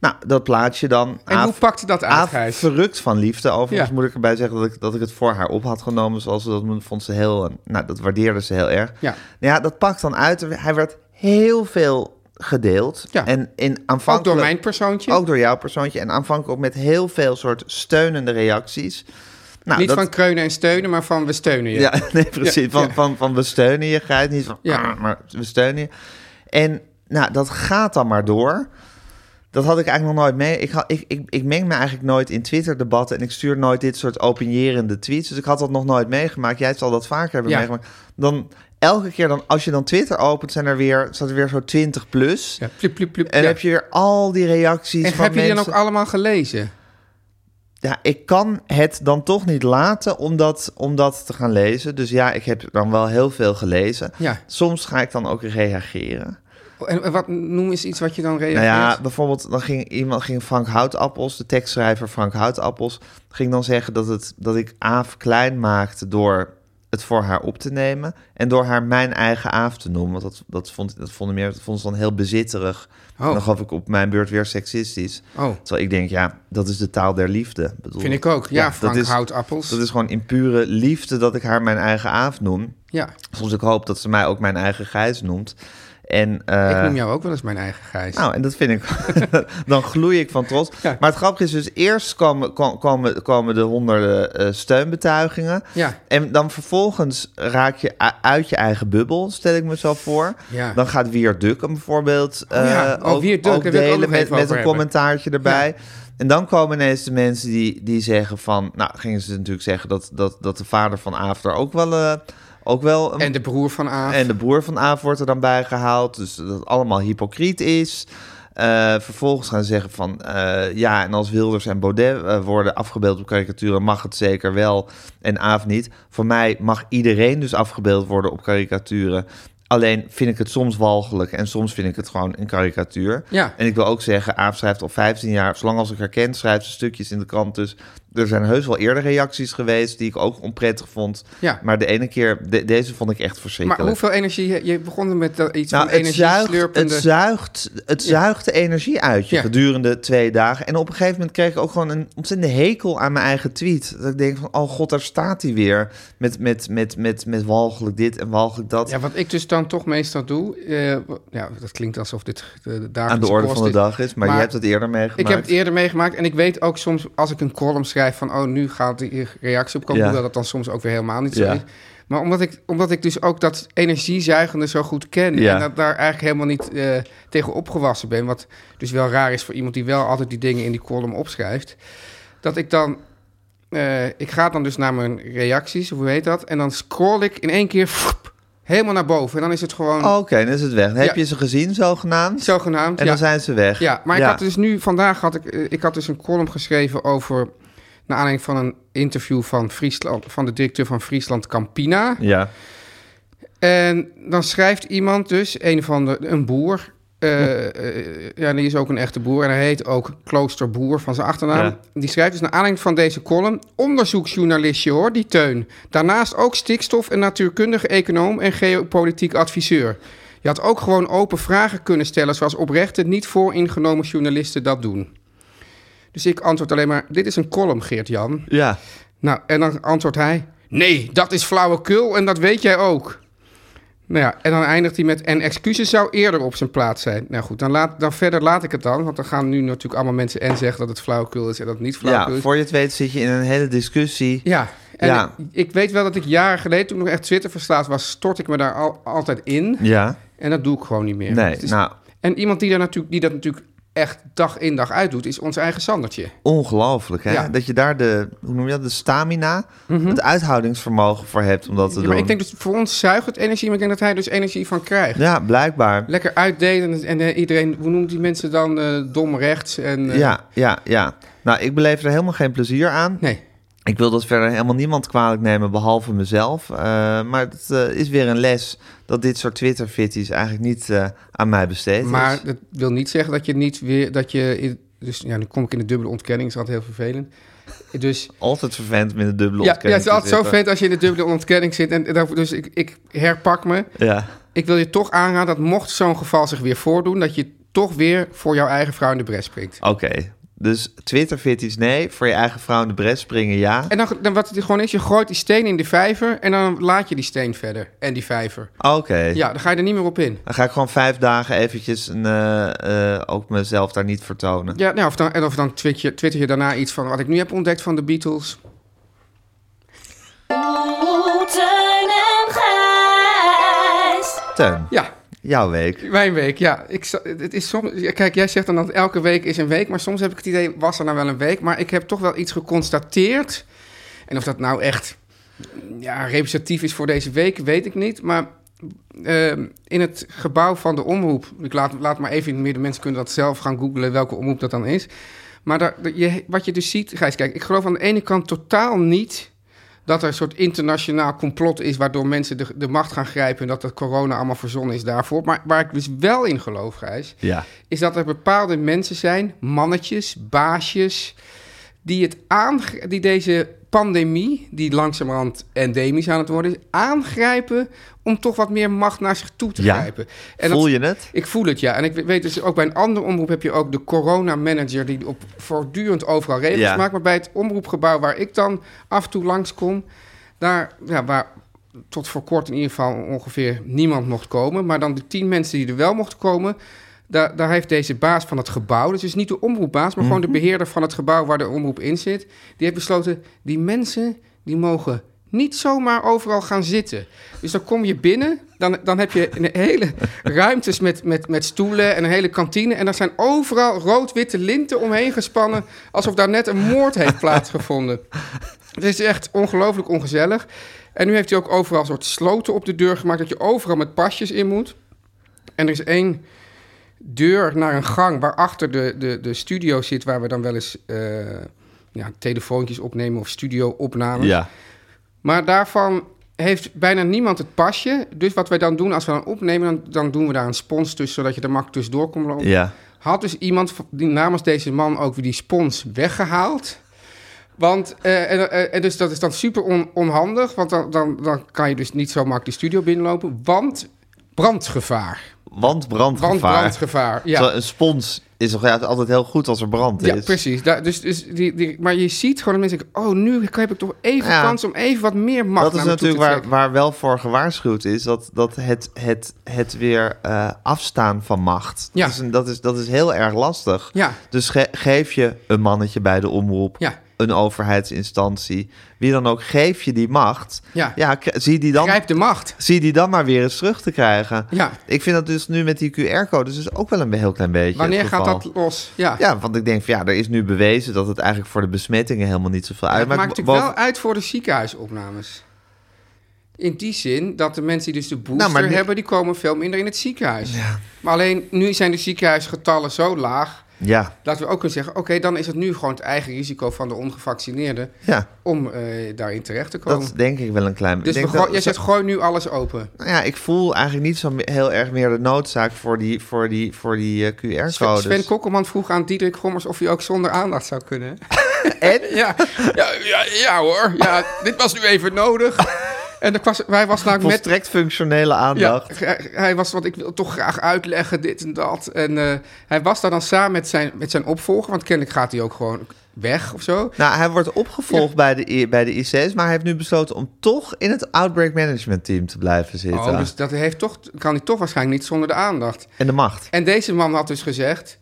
A: Nou, dat plaatsje dan.
B: En
A: Aaf-
B: hoe pakte dat uit,
A: Aaf
B: Gijs?
A: verrukt van liefde. Overigens
B: Ja.
A: moet ik erbij zeggen dat ik, dat ik het voor haar op had genomen. Zoals ze dat mo- vond ze heel... eh, Nou, dat waardeerde ze heel erg.
B: Ja.
A: Nou ja, dat pakt dan uit. Hij werd heel veel gedeeld.
B: Ja.
A: En in aanvankelijk...
B: Ook door mijn persoontje.
A: Ook door jouw persoontje. En aanvankelijk ook met heel veel soort steunende reacties. Nou,
B: niet
A: dat-
B: van kreunen en steunen, maar van we steunen je.
A: ja, nee, precies.
B: Ja,
A: van,
B: ja.
A: Van, van we steunen je, Gijs. Niet van,
B: Ja.
A: "Ah", maar we steunen je. En nou, dat gaat dan maar door. Dat had ik eigenlijk nog nooit mee. Ik, had, ik, ik, ik meng me eigenlijk nooit in Twitter-debatten... en ik stuur nooit dit soort opinierende tweets. Dus ik had dat nog nooit meegemaakt. Jij zal dat vaker hebben
B: Ja.
A: meegemaakt. Dan elke keer, dan, als je dan Twitter opent... zijn er weer, staat er weer zo 20 plus.
B: Ja, plup, plup, plup,
A: En dan
B: ja.
A: heb je weer al die reacties
B: En
A: van
B: heb je die dan
A: mensen.
B: ook allemaal gelezen?
A: Ja, ik kan het dan toch niet laten om dat, om dat te gaan lezen. Dus ja, ik heb dan wel heel veel gelezen.
B: Ja.
A: Soms ga ik dan ook reageren.
B: En en wat noem eens iets wat je dan reageert?
A: Nou ja, bijvoorbeeld dan ging iemand, ging Frank Houtappels, de tekstschrijver Frank Houtappels, ging dan zeggen dat, het, dat ik Aaf klein maakte door het voor haar op te nemen en door haar mijn eigen Aaf te noemen. Want dat, dat, vond, dat, vonden meer, dat vond ze dan heel bezitterig.
B: Oh.
A: En dan gaf ik op mijn beurt weer seksistisch.
B: Oh.
A: Terwijl ik denk, ja, dat is de taal der liefde. Ik bedoel,
B: Vind ik ook. Ja,
A: dat
B: Frank
A: is-
B: Houtappels.
A: Dat is gewoon in pure liefde dat ik haar mijn eigen Aaf noem.
B: Ja,
A: Soms ik hoop dat ze mij ook mijn eigen Gijs noemt. En, eh,
B: ik noem jou ook wel eens mijn eigen Gijs.
A: nou, en dat vind ik. dan gloei ik van trots.
B: Ja.
A: Maar het grappige is dus: eerst komen, ko- komen, komen de honderden eh, steunbetuigingen.
B: Ja.
A: En dan vervolgens raak je u- uit je eigen bubbel, stel ik me zo voor.
B: Ja.
A: Dan gaat Weer Dukken bijvoorbeeld eh
B: ja. Oh,
A: ook,
B: Wierd Duk,
A: ook
B: daar wil ik ook
A: delen
B: nog
A: met,
B: even
A: met
B: over
A: een
B: hebben.
A: commentaartje erbij. En dan komen ineens de mensen die, die zeggen van... Nou, gingen ze natuurlijk zeggen dat, dat, dat de vader van Aaf daar ook wel, eh, ook wel een
B: en de broer van Aaf.
A: en de broer van Aaf wordt er dan bij gehaald. Dus dat het allemaal hypocriet is. Eh, vervolgens gaan ze zeggen van... eh, ja, en als Wilders en Baudet eh, worden afgebeeld op karikaturen... mag het zeker wel en Aaf niet. Voor mij mag iedereen dus afgebeeld worden op karikaturen... Alleen vind ik het soms walgelijk en soms vind ik het gewoon een karikatuur.
B: Ja.
A: En ik wil ook zeggen, Aaf schrijft al 15 jaar, zolang als ik herken, schrijft ze stukjes in de krant. Dus er zijn heus wel eerder reacties geweest die ik ook onprettig vond.
B: Ja.
A: Maar de ene keer, de- deze vond ik echt verschrikkelijk.
B: maar hoeveel energie... Je begon met dat iets
A: Nou,
B: van
A: het
B: energie
A: zuigt, het,
B: slurpende...
A: zuigt, het zuigt de energie uit je
B: Ja.
A: gedurende twee dagen. En op een gegeven moment kreeg ik ook gewoon een ontzettende hekel aan mijn eigen tweet. Dat ik denk van, oh god, daar staat hij weer. Met, met, met, met, met walgelijk dit en walgelijk dat.
B: Ja, wat ik dus dan toch meestal doe... eh, w- ja, dat klinkt alsof dit de, de
A: aan de
B: dagelijkse
A: orde
B: kost
A: van de
B: is.
A: dag is. Maar, je hebt het eerder meegemaakt.
B: Ik heb het eerder meegemaakt en ik weet ook soms als ik een column schrijf van oh nu gaat die reactie opkomen,
A: Ja.
B: hoewel dat dan soms ook weer helemaal niet zo
A: Ja.
B: is. Maar omdat ik, omdat ik dus ook dat energiezuigende zo goed ken
A: Ja.
B: en dat daar eigenlijk helemaal niet eh, tegen opgewassen ben, wat dus wel raar is voor iemand die wel altijd die dingen in die column opschrijft, dat ik dan eh, ik ga dan dus naar mijn reacties, hoe heet dat, en dan scroll ik in één keer froep, helemaal naar boven en dan is het gewoon
A: Oh, Oké, dan is het weg. Heb
B: Ja.
A: je ze gezien, zogenaamd?
B: zogenaamd.
A: en
B: ja.
A: dan zijn ze weg.
B: Ja, maar ik had dus nu vandaag had ik, eh, ik had dus een column geschreven over naar aanleiding van een interview van Friesland van de directeur van Friesland Campina.
A: Ja.
B: En dan schrijft iemand dus een van de een boer. eh, eh, ja, die is ook een echte boer en hij heet ook Kloosterboer van zijn achternaam.
A: Ja.
B: Die schrijft dus naar aanleiding van deze column onderzoeksjournalistje hoor, die Teun. Daarnaast ook stikstof- en natuurkundige econoom en geopolitiek adviseur. Je had ook gewoon open vragen kunnen stellen zoals oprechte, niet vooringenomen journalisten dat doen. Dus ik antwoord alleen maar, dit is een column Geert-Jan.
A: Ja.
B: Nou, en dan antwoordt hij: Nee, dat is flauwekul en dat weet jij ook. Nou ja, en dan eindigt hij met: En excuses zou eerder op zijn plaats zijn. Nou goed, dan, laat, dan verder laat ik het dan. Want dan gaan nu natuurlijk allemaal mensen en zeggen dat het flauwekul is en dat het niet flauwekul
A: ja,
B: is.
A: voor je het weet zit je in een hele discussie.
B: Ja, en En
A: Ja.
B: ik, ik weet wel dat ik jaren geleden, toen ik nog echt Twitter verslaafd was, stort ik me daar al, altijd in.
A: Ja,
B: En dat doe ik gewoon niet meer.
A: nee.
B: Het is-
A: Nou,
B: En iemand die, daar natuurlijk, die dat natuurlijk echt dag in dag uit doet, is ons eigen Sandertje.
A: ongelooflijk hè.
B: Ja. Mhm.
A: Dat je daar de, hoe noem je dat, de stamina, het uithoudingsvermogen voor hebt om dat te
B: Ja,
A: doen.
B: maar ik denk dat voor ons zuigt het energie, maar ik denk dat hij dus energie van krijgt.
A: Ja, blijkbaar.
B: Lekker uitdelen en, en eh, iedereen, hoe noemt die mensen dan, eh, dom rechts? En, eh,
A: Ja, ja, ja. Nou, ik beleef er helemaal geen plezier aan.
B: Nee,
A: Ik wil dat verder helemaal niemand kwalijk nemen, behalve mezelf. Eh, maar het eh, is weer een les dat dit soort Twitter-fitties eigenlijk niet eh, aan mij besteed is.
B: maar dat wil niet zeggen dat je niet weer, dat je, in- dus ja, nu kom ik in de dubbele ontkenning, is altijd heel vervelend. Dus
A: Altijd vervent met een dubbele
B: ja, ja,
A: ontkenning
B: het is
A: te
B: altijd zo
A: zitten.
B: vet als je in de dubbele ontkenning zit. En, daarvoor- dus ik, ik herpak me.
A: Ja,
B: Ik wil je toch aanraden dat mocht zo'n geval zich weer voordoen, dat je toch weer voor jouw eigen vrouw in de bres springt.
A: oké. Dus Twitter-fitties nee, voor je eigen vrouw in de bres springen ja.
B: En dan, dan wat het gewoon is, je gooit die steen in de vijver en dan laat je die steen verder en die vijver.
A: Oké.
B: Ja, dan ga je er niet meer op in.
A: Dan ga ik gewoon vijf dagen eventjes een, eh, eh, ook mezelf daar niet vertonen.
B: Ja, nou, of dan, en of dan twitter je, twitter je daarna iets van wat ik nu heb ontdekt van de Beatles.
D: Oeh, Oh, Teun en Gijs.
A: Teun,
B: Ja,
A: jouw week.
B: mijn week, ja. Ik, za- het is soms, ja, kijk, jij zegt dan dat elke week is een week, maar soms heb ik het idee, was er nou wel een week? Maar ik heb toch wel iets geconstateerd. En of dat nou echt ja, representatief is voor deze week, weet ik niet. Maar ehm, in het gebouw van de omroep, ik laat, laat maar even in het midden, mensen kunnen dat zelf gaan googlen welke omroep dat dan is. Maar daar, dat je, wat je dus ziet, Gijs, kijk, ik geloof aan de ene kant totaal niet dat er een soort internationaal complot is... waardoor mensen de, de macht gaan grijpen en dat dat corona allemaal verzonnen is daarvoor. Maar waar ik dus wel in geloof, Gijs,
A: Ja.
B: is dat er bepaalde mensen zijn, mannetjes, baasjes, die, het aange- die deze pandemie, die langzamerhand endemisch aan het worden is, aangrijpen om toch wat meer macht naar zich toe te
A: Ja.
B: grijpen.
A: Voel
B: dat-
A: je het?
B: Ik voel het, ja. En ik weet dus ook bij een andere omroep heb je ook de corona-manager... die op voortdurend overal regels
A: Ja.
B: maakt. Maar bij het omroepgebouw waar ik dan af en toe langskom... daar, ja, waar tot voor kort in ieder geval ongeveer niemand mocht komen... maar dan de tien mensen die er wel mochten komen... Daar, daar heeft deze baas van het gebouw, dus het is niet de omroepbaas... maar
A: Mhm.
B: gewoon de beheerder van het gebouw waar de omroep in zit... die heeft besloten, die mensen die mogen niet zomaar overal gaan zitten. Dus dan kom je binnen, dan, dan heb je een hele ruimtes met, met, met stoelen en een hele kantine... en daar zijn overal rood-witte linten omheen gespannen... alsof daar net een moord heeft plaatsgevonden. Het is echt ongelooflijk ongezellig. En nu heeft hij ook overal soort sloten op de deur gemaakt... dat je overal met pasjes in moet. En er is één deur naar een gang waarachter de, de, de studio zit... waar we dan wel eens eh, ja, telefoontjes opnemen of studio-opnames.
A: Ja.
B: Maar daarvan heeft bijna niemand het pasje. Dus wat wij dan doen, als we dan opnemen... dan, dan doen we daar een spons tussen... zodat je er makkelijk tussendoor komt lopen.
A: Ja.
B: Had dus iemand v- die namens deze man ook weer die spons weggehaald. Want, eh, en, eh, en dus dat is dan super on- onhandig, want dan, dan, dan kan je dus niet zo makkelijk de studio binnenlopen. Want brandgevaar.
A: Want brandgevaar.
B: Want brandgevaar. Ja.
A: Zo, een spons is toch juist altijd heel goed als er brand
B: Ja,
A: is.
B: precies. Daar- dus, dus die, die, maar je ziet gewoon dat mensen denken... oh, nu heb ik toch even
A: Ja.
B: kans om even wat meer macht
A: Dat is
B: naar me toe
A: natuurlijk
B: te
A: waar,
B: trekken.
A: waar wel voor gewaarschuwd is, dat, dat het, het, het weer eh, afstaan van macht.
B: Ja.
A: Dat, is een- dat, is, dat is heel erg lastig.
B: Ja.
A: Dus ge- geef je een mannetje bij de omroep,
B: Ja.
A: een overheidsinstantie, wie dan ook, geef je die macht.
B: Ja.
A: k- zie, die dan,
B: Grijp de macht.
A: zie die dan maar weer eens terug te krijgen.
B: Ja.
A: Ik vind dat dus nu met die QR-codes dus ook wel een heel klein beetje.
B: Wanneer
A: het
B: gaat
A: geval.
B: dat los? Ja.
A: Ja, want ik denk van ja, er is nu bewezen dat het eigenlijk voor de besmettingen helemaal niet zoveel
B: Het
A: uitmaakt.
B: maakt natuurlijk
A: Boven-
B: wel uit voor de ziekenhuisopnames. In die zin dat de mensen die dus de booster
A: Nou, maar nu-
B: hebben, die komen veel minder in het ziekenhuis. Maar alleen nu zijn de ziekenhuisgetallen zo laag
A: Ja,
B: dat we ook kunnen zeggen: oké, dan is het nu gewoon het eigen risico van de ongevaccineerden
A: ja.
B: om eh, daarin terecht te komen.
A: Dat denk ik wel een klein
B: dus
A: ik
B: we
A: denk
B: gooi-
A: dat-
B: jij zegt: gooi nu alles open.
A: Nou ja, ik voel eigenlijk niet zo me- heel erg meer de noodzaak voor die, voor die, voor die eh,
B: Sven,
A: QR-codes.
B: Sven Kokkelman vroeg aan Diederik Gommers of hij ook zonder aandacht zou kunnen.
A: En?
B: Ja, ja, ja, ja hoor, ja, dit was nu even nodig. En ik was, wij was namelijk met,
A: Volstrekt functionele aandacht.
B: Ja, hij- hij was, want ik wil toch graag uitleggen, dit en dat. En eh, hij was daar dan samen met zijn, met zijn opvolger, want kennelijk gaat hij ook gewoon weg of zo.
A: Nou, hij wordt opgevolgd bij, de, I- bij de IC's, maar hij heeft nu besloten om toch in het Outbreak Management Team te blijven zitten.
B: Oh, dus dat heeft toch, kan hij toch waarschijnlijk niet zonder de aandacht.
A: En de macht.
B: En deze man had dus gezegd...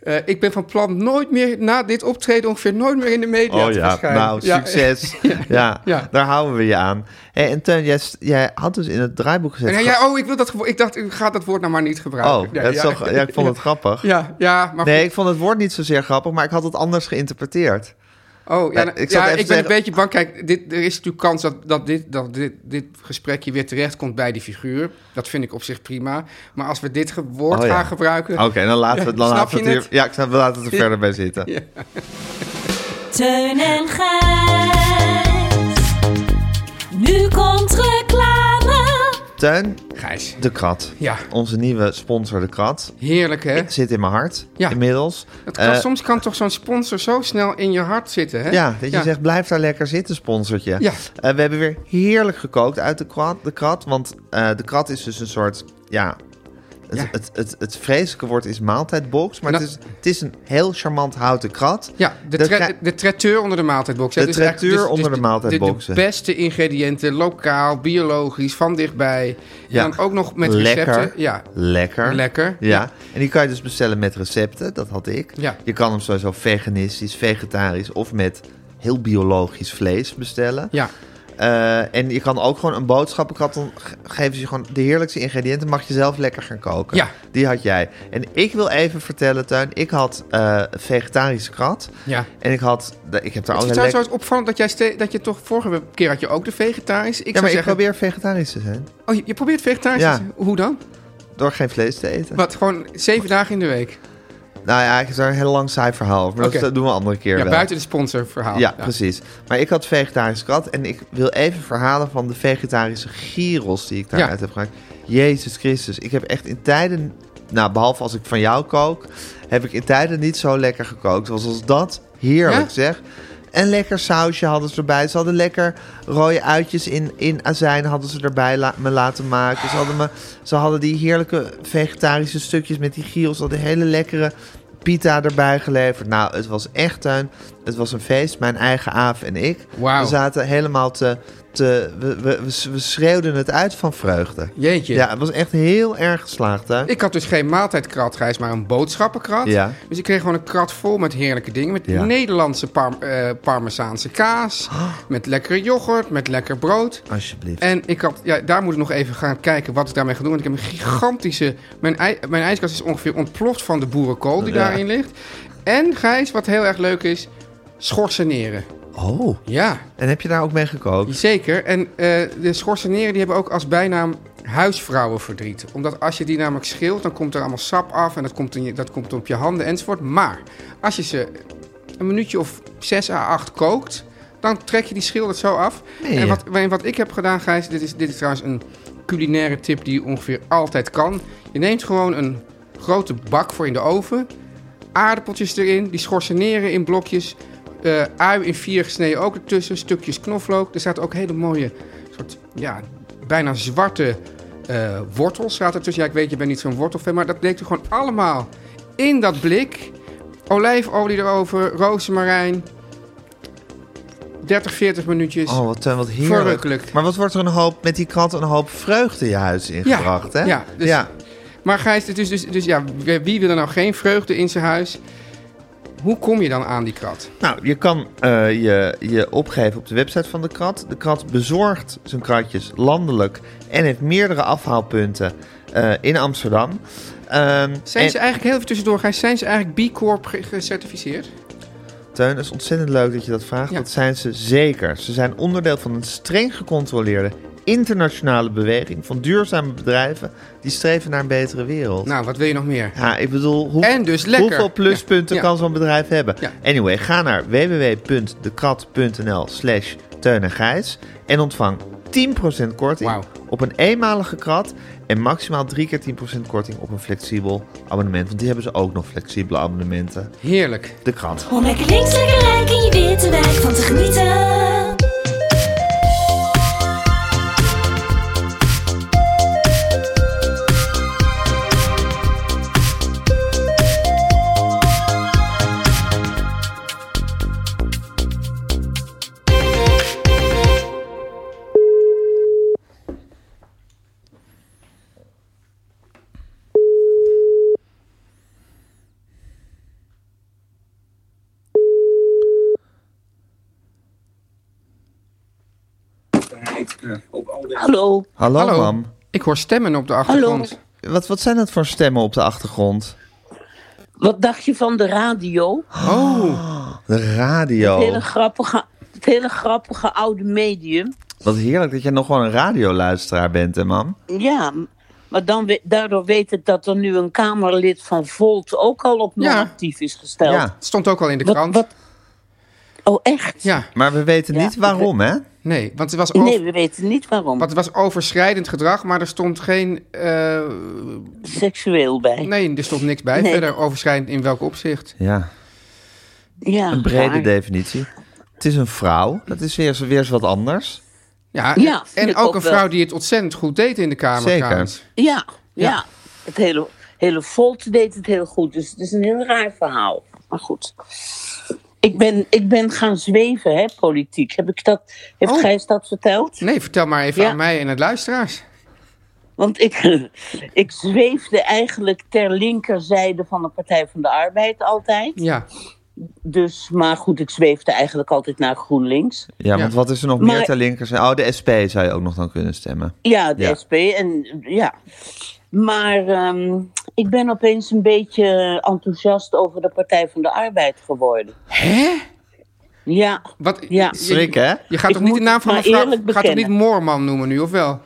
B: Eh, ik ben van plan nooit meer, na dit optreden, ongeveer nooit meer in de media
A: Oh
B: te
A: ja,
B: verschijnen.
A: nou,
B: Ja.
A: succes. Ja,
B: Ja.
A: daar houden we je aan. Hé, en Teun, jij, st- jij had dus in het draaiboek gezet...
B: En hij- ja, oh, ik, wil dat gewo- ik dacht, u gaat dat woord nou maar niet gebruiken.
A: oh,
B: Nee,
A: dat is
B: ja.
A: toch, ja, ik vond het grappig.
B: Ja, ja, maar
A: Nee, ik vond het woord niet zozeer grappig, maar ik had het anders geïnterpreteerd.
B: Oh, ja,
A: Eh,
B: nou, ja,
A: ik
B: ik,
A: zat even
B: ben
A: tegen-
B: een beetje bang. Kijk, dit, er is natuurlijk kans dat, dat, dit, dat dit, dit gesprekje weer terechtkomt bij die figuur. Dat vind ik op zich prima. Maar als we dit ge- woord
A: Oh, ja.
B: gaan gebruiken...
A: Oké, dan laten we het, dan
B: Snap
A: laten we
B: je
A: het hier-
B: het?
A: Ja, ik snap, we laten het er verder bij zitten.
D: Teun en Gijs. Nu komt reclame.
A: Teun,
B: Gijs,
A: de krat.
B: Ja.
A: Onze nieuwe sponsor, de krat.
B: heerlijk hè?
A: Zit in mijn hart,
B: Ja.
A: inmiddels.
B: Dat kan,
A: Eh,
B: soms kan toch zo'n sponsor zo snel in je hart zitten hè?
A: Ja, dat je zegt, blijf daar lekker zitten, sponsortje.
B: Ja.
A: Eh, we hebben weer heerlijk gekookt uit de krat. De krat want eh, de krat is dus een soort, ja... Het,
B: Ja.
A: Het, het, het vreselijke woord is maaltijdbox, maar
B: Nou-
A: het, is, het is een heel charmant houten krat.
B: Ja, de,
A: Dat
B: tra-
A: krij-
B: de traiteur onder de maaltijdboxen.
A: De
B: Het is echt- dus-
A: traiteur onder de
B: De,
A: maaltijdboxen.
B: beste ingrediënten, lokaal, biologisch, van dichtbij.
A: Ja.
B: En dan ook nog met
A: lekker,
B: recepten. Ja,
A: Lekker.
B: Lekker,
A: Ja.
B: ja.
A: En die kan je dus bestellen met recepten, dat had ik.
B: Ja.
A: Je kan hem sowieso veganistisch, vegetarisch of met heel biologisch vlees bestellen.
B: ja.
A: Eh, en je kan ook gewoon een boodschappenkrat, dan ge- geven ze je gewoon de heerlijkste ingrediënten, mag je zelf lekker gaan koken.
B: Ja.
A: Die had jij. En ik wil even vertellen, Tuin, ik had eh, een vegetarische krat.
B: ja.
A: En ik had, de- ik heb daar
B: Het is
A: allerlei
B: trouwens
A: lekker...
B: wel eens opvallend dat, jij ste- dat je toch vorige keer had je ook de vegetarisch. Ik
A: Ja,
B: zou
A: maar ik
B: zeggen,
A: probeer vegetarisch te zijn.
B: oh, je, je probeert vegetarisch
A: Ja.
B: te zijn. Hoe dan?
A: Door geen vlees te eten.
B: Wat, gewoon zeven dagen in de week?
A: Nou ja, ik heb daar een heel lang saai verhaal over, maar dat,
B: Oké.
A: dat doen we een andere keer
B: Ja,
A: wel.
B: buiten de sponsorverhaal.
A: Ja, precies. Maar ik had vegetarische krat en ik wil even verhalen van de vegetarische gyros die ik daaruit
B: Ja.
A: heb gemaakt. Jezus Christus, ik heb echt in tijden, nou behalve als ik van jou kook, heb ik in tijden niet zo lekker gekookt. Zoals als dat, heerlijk
B: Ja?
A: zeg. En lekker sausje hadden ze erbij. Ze hadden lekker rode uitjes in, in azijn hadden ze erbij la- me laten maken. Ze hadden, me, ze hadden die heerlijke vegetarische stukjes met die gyros. Ze hadden hele lekkere pita erbij geleverd. Nou, het was echt een... Het was een feest. Mijn eigen Aaf en ik.
B: Wauw.
A: We zaten helemaal te... te we, we, we, we schreeuwden het uit van vreugde.
B: Jeetje.
A: Ja, het was echt heel erg geslaagd, hè?
B: Ik had dus geen maaltijdkrat, Gijs, maar een boodschappenkrat.
A: Ja.
B: Dus ik kreeg gewoon een krat vol met heerlijke dingen. Met
A: Ja.
B: Nederlandse par- eh, parmezaanse kaas, met lekkere yoghurt, met lekker brood.
A: Alsjeblieft.
B: En ik had, ja, daar moet ik nog even gaan kijken wat ik daarmee ga doen. Want ik heb een gigantische... Mijn, ij, mijn ijskast is ongeveer ontploft van de boerenkool die
A: Ja.
B: daarin ligt. En Gijs, wat heel erg leuk is, schorseneren.
A: Oh.
B: Ja,
A: En heb je daar ook mee gekookt?
B: zeker. En eh, de schorseneren die hebben ook als bijnaam huisvrouwenverdriet. Omdat als je die namelijk scheelt, dan komt er allemaal sap af... en dat komt, in je, dat komt op je handen enzovoort. Maar als je ze een minuutje of 6 à 8 kookt... dan trek je die schil er zo af.
A: Nee.
B: En wat, en wat ik heb gedaan, Gijs... Dit is, dit is trouwens een culinaire tip die ongeveer altijd kan. Je neemt gewoon een grote bak voor in de oven... aardappeltjes erin, die schorseneren in blokjes... eh ui in vier gesneden ook ertussen, stukjes knoflook. Er zaten ook hele mooie, soort, ja, bijna zwarte eh, wortels zaten ertussen. Ja, ik weet, je bent niet zo'n wortelfan, maar dat deed er gewoon allemaal in dat blik. Olijfolie erover, rozemarijn. 30, 40 minuutjes.
A: Oh, wat, Teun, wat heerlijk.
B: Verrukkelijk.
A: Maar wat wordt er een hoop, met die krat een hoop vreugde je huis ingebracht, hè?
B: ja, dus-
A: ja.
B: Maar Gijs, dus, dus, dus ja, wie wil er nou geen vreugde in zijn huis? Hoe kom je dan aan die krat?
A: Nou, je kan eh, je, je opgeven op de website van de krat. De krat bezorgt zijn kratjes landelijk en heeft meerdere afhaalpunten eh, in Amsterdam. Ehm,
B: Zijn
A: en-
B: ze eigenlijk, heel even tussendoor Gijs, zijn ze eigenlijk B Corp ge- gecertificeerd?
A: Teun, het is ontzettend leuk dat je dat vraagt.
B: Ja.
A: Dat zijn ze zeker. Ze zijn onderdeel van een streng gecontroleerde internationale beweging van duurzame bedrijven die streven naar een betere wereld.
B: Nou, wat wil je nog meer?
A: Ja, ik bedoel, hoe,
B: En dus lekker.
A: hoeveel pluspunten
B: Ja, ja.
A: kan zo'n bedrijf hebben?
B: Ja.
A: Anyway, ga naar www.dekrat.nl slash Teun en Gijs en ontvang 10% korting
B: Wauw.
A: op een eenmalige krat en maximaal drie keer 10% korting op een flexibel abonnement. Want die hebben ze ook nog flexibele abonnementen.
B: Heerlijk.
A: De krat.
D: Om lekker links, lekker rijk in je witte wijk van te genieten.
E: Hallo.
A: Hallo,
B: Hallo.
A: mam.
B: Ik hoor stemmen op de achtergrond.
E: Hallo.
A: Wat, wat zijn dat voor stemmen op de achtergrond?
E: Wat dacht je van de radio?
B: Oh,
A: De
E: Het hele
A: radio.
E: grappige, het hele grappige oude medium.
A: Wat heerlijk dat jij nog gewoon een radioluisteraar bent, hè, mam?
E: Ja, m- maar dan we- daardoor weet ik dat er nu een Kamerlid van Volt ook al op
B: Ja.
E: non-actief is gesteld.
A: Ja.
B: Het stond ook al in de
E: Wat-
B: krant.
E: wat- Oh, echt?
B: Ja,
A: Maar we weten
E: Ja,
A: niet waarom, hè?
B: nee, want het was, over-
E: Nee, we weten niet waarom.
B: want het was overschrijdend gedrag, maar er stond geen. eh,
E: Seksueel bij.
B: nee, er stond niks bij.
E: Nee.
B: Verder overschrijdend in welk opzicht?
A: Ja,
E: Ja,
A: een brede
E: raar.
A: definitie. Het is een vrouw. Dat is weer, eens- weer eens wat anders.
B: Ja,
E: Ja, vind
B: en
E: ik
B: ook
E: ook
B: een
E: wel.
B: vrouw die het ontzettend goed deed in de Kamer.
A: Zeker.
B: trouwens.
E: Ja, ja.
B: Ja.
E: Het hele, hele Volt deed het heel goed. Dus het is een heel raar verhaal. Maar goed. Ik ben, ik ben gaan zweven, hè, politiek. Heb ik dat, heeft
B: Oh.
E: Gijs dat verteld?
B: Nee, vertel maar even
E: Ja.
B: aan mij en het luisteraars.
E: Want ik, ik zweefde eigenlijk ter linkerzijde van de Partij van de Arbeid altijd.
B: Ja,
E: Dus, maar goed, ik zweefde eigenlijk altijd naar GroenLinks.
A: Ja,
B: Ja.
A: want wat is er nog
E: Maar-
A: meer ter linker? Oh, de SP zou je ook nog dan kunnen stemmen.
E: Ja, de
A: Ja.
E: SP. En, ja. Maar ehm, ik ben opeens een beetje enthousiast over de Partij van de Arbeid geworden. Hè? Ja,
B: wat,
E: Ja.
A: Schrik, hè?
B: Je gaat
E: Ik
B: toch niet de
E: moet
B: naam van een
E: maar
B: vrouw.
E: eerlijk
B: Je gaat toch niet
E: bekennen.
B: Moorman noemen nu, of wel?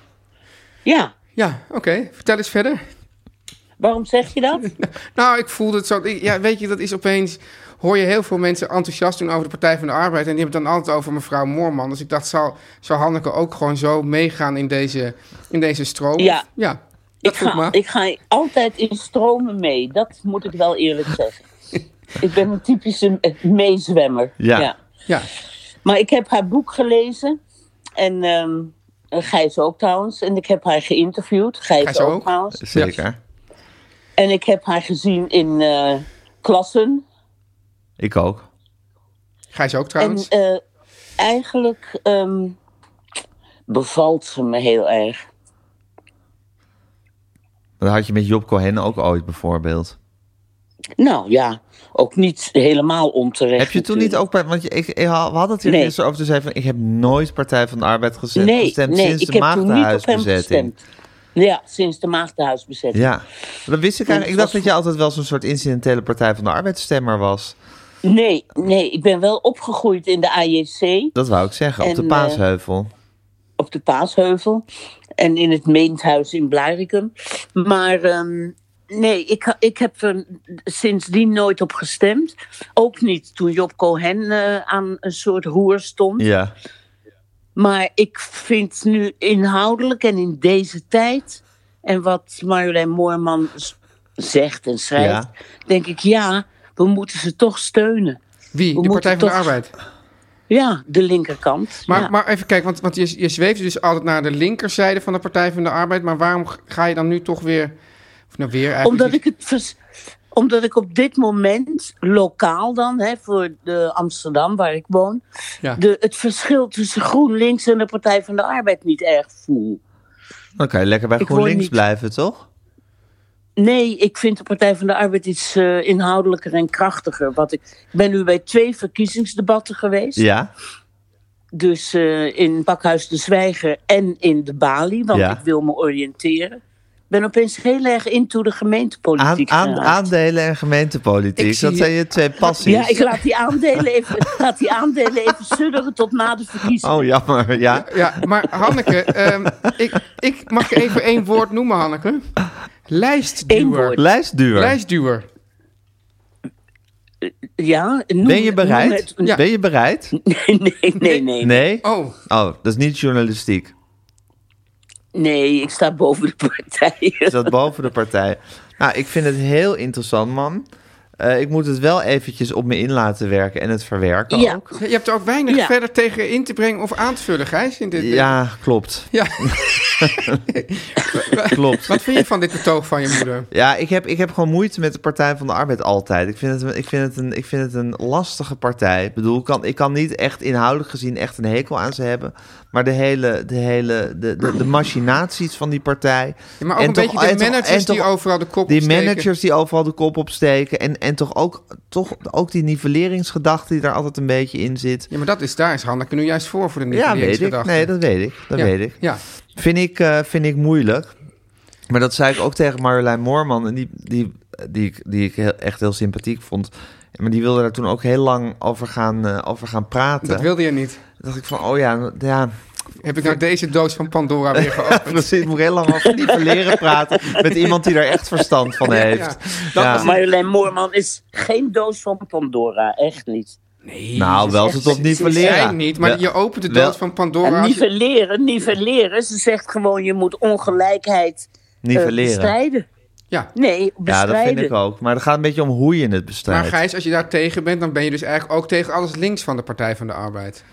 E: ja.
B: Ja, oké. Vertel eens verder.
E: Waarom zeg je dat?
B: Nou, ik voelde het zo. ik- ja, weet je, dat is opeens. Hoor je heel veel mensen enthousiast doen over de Partij van de Arbeid. En die hebben het dan altijd over mevrouw Moorman. Dus ik dacht, zal, zal Hanneke ook gewoon zo meegaan in deze, in deze stroom?
E: Ja.
B: Ja, dat
E: Ik
B: voelt
E: ga,
B: me.
E: ik ga altijd in stromen mee. Dat moet ik wel eerlijk zeggen. ik ben een typische eh, meezwemmer.
A: Ja.
B: Ja,
E: Maar ik heb haar boek gelezen. En ehm Gijs ook trouwens. En ik heb haar geïnterviewd. Gijs,
B: Gijs
E: ook,
B: ook.
E: trouwens.
A: Zeker.
E: En ik heb haar gezien in eh, klassen.
A: Ik ook.
B: Gijs ook trouwens.
E: En eh, eigenlijk ehm, bevalt ze me heel erg.
A: Dat had je met Job Cohen ook ooit bijvoorbeeld.
E: Nou ja, ook niet helemaal onterecht.
A: Heb je toen niet
E: natuurlijk.
A: ook bij... Want je, ik, ik had- we hadden het hier
E: Nee.
A: gisteren over te zeggen... van, ik heb nooit Partij van de Arbeid gezet,
E: nee,
A: gestemd
E: nee,
A: sinds
E: ik
A: de
E: heb toen niet op hem
A: Maagdenhuisbezetting.
E: gestemd. Ja, sinds de Maagdenhuisbezetting.
A: Ja, dat wist ik eigenlijk. Ik
E: het
A: dacht
E: was
A: dat je altijd wel zo'n soort incidentele Partij van de Arbeidsstemmer was.
E: Nee, nee, ik ben wel opgegroeid in de AJC.
A: Dat wou ik zeggen, op
E: En,
A: de
E: eh,
A: Paasheuvel.
E: op de Paasheuvel en in het Meenthuis in Blarikum. Maar ehm, nee, ik, ha- ik heb er sindsdien nooit op gestemd. Ook niet toen Job Cohen eh, aan een soort roer stond.
A: Ja.
E: Maar ik vind nu inhoudelijk en in deze tijd... en wat Marjolein Moorman s- zegt en schrijft... denk ik, ja, we moeten ze toch steunen.
B: Wie?
E: we
B: De Partij
E: moeten
B: van de
E: toch-
B: Arbeid.
E: Ja, de linkerkant.
B: Maar,
E: ja.
B: maar even kijken, want, want je, je zweeft dus altijd naar de linkerzijde van de Partij van de Arbeid. Maar waarom g- ga je dan nu toch weer. Of nou weer eigenlijk.
E: Omdat
B: niet-
E: ik het vers- omdat ik op dit moment lokaal dan, hè, voor de Amsterdam waar ik woon,
B: Ja.
E: de, het verschil tussen GroenLinks en de Partij van de Arbeid niet erg voel.
A: Dan kan je lekker bij
E: Ik hoor
A: GroenLinks
E: niet.
A: blijven, toch?
E: Nee, ik vind de Partij van de Arbeid iets eh, inhoudelijker en krachtiger. Wat ik, ik ben nu bij twee verkiezingsdebatten geweest.
A: Ja.
E: Dus eh, in Pakhuis de Zwijger en in de Bali, want
A: Ja.
E: ik wil me oriënteren. Ik ben opeens heel erg into de
A: Aan,
E: gemeentepolitiek
A: aan,
E: geraakt.
A: aandelen en gemeentepolitiek.
B: Ik zie
A: Dat
B: je-
A: zijn je twee passies.
E: Ja, ik laat die aandelen even, laat die aandelen even sudderen tot na de verkiezingen.
A: Oh, jammer. Ja.
B: Ja, maar Hanneke, ehm, ik, ik mag even één woord noemen, Hanneke.
E: Eén
B: Lijstduwer.
E: woord.
A: Lijstduur.
B: Lijstduwer.
E: Ja, noem-
A: Ben je bereid?
E: noem het-
A: Ben je bereid?
E: Nee, nee, nee, nee, nee.
A: Nee?
B: Oh,
A: Oh, dat is niet journalistiek.
E: ik sta boven de partij.
A: Is dat boven de partij? Nou, ik vind het heel interessant, man. Eh, ik moet het wel eventjes op me in laten werken en het verwerken
E: Ja.
A: ook.
B: je hebt er ook weinig
E: Ja.
B: verder tegen in te brengen of aan te vullen, Gijs. In dit
A: Ja, klopt.
B: Ja.
A: Klopt.
B: Wat vind je van dit betoog van je moeder?
A: Ja, ik heb, ik heb gewoon moeite met de Partij van de Arbeid altijd. Ik vind het, ik vind het, een, ik vind het een lastige partij. Ik bedoel, ik kan, ik kan niet echt inhoudelijk gezien echt een hekel aan ze hebben. Maar de hele, de hele, de, de, de machinaties van die partij.
B: Ja, maar ook een beetje de
A: en en
B: managers die
A: toch-
B: overal de kop
A: Die
B: opsteken.
A: managers die overal de kop opsteken. En, en toch, ook, toch ook die nivelleringsgedachte die daar altijd een beetje in zit.
B: Ja, maar dat is, daar is Hanneke nu juist voor, voor de
A: Ja, weet ik.
B: nivelleringsgedachte.
A: Nee, dat weet ik. Dat
B: Ja,
A: weet ik.
B: Ja,
A: Vind ik, eh, vind ik moeilijk. Maar dat zei ik ook tegen Marjolein Moorman. En die, die, die, ik- die ik heel- echt heel sympathiek vond. Maar die wilde daar toen ook heel lang over gaan, eh, over gaan praten.
B: dat wilde je niet.
A: Toen dacht ik van, oh ja, ja
B: Heb ik nou deze doos van Pandora weer geopend?
A: precies. Ik moet heel lang over die leren praten met iemand die daar echt verstand van heeft.
B: Dat
A: Ja.
B: was-
E: Marjolein Moorman is geen doos van Pandora, echt niet.
B: Nee,
A: Nou, wel
E: echt-
A: tot op
E: ze- ze
B: jij
A: nivelleren.
B: niet, maar
A: Wel-
B: je opent de
A: wel-
B: doos van Pandora.
E: En
B: als je-
E: nivelleren, nivelleren. Ze zegt gewoon, je moet ongelijkheid eh,
A: Nivelleren.
E: bestrijden.
B: Ja.
E: Nee,
A: Ja, dat vind
E: bestrijden.
A: ik ook. Maar het gaat een beetje om hoe je het
B: Maar
A: bestrijdt.
B: Gijs, als je daar tegen bent, dan ben je dus eigenlijk ook tegen alles links van de Partij van de Arbeid.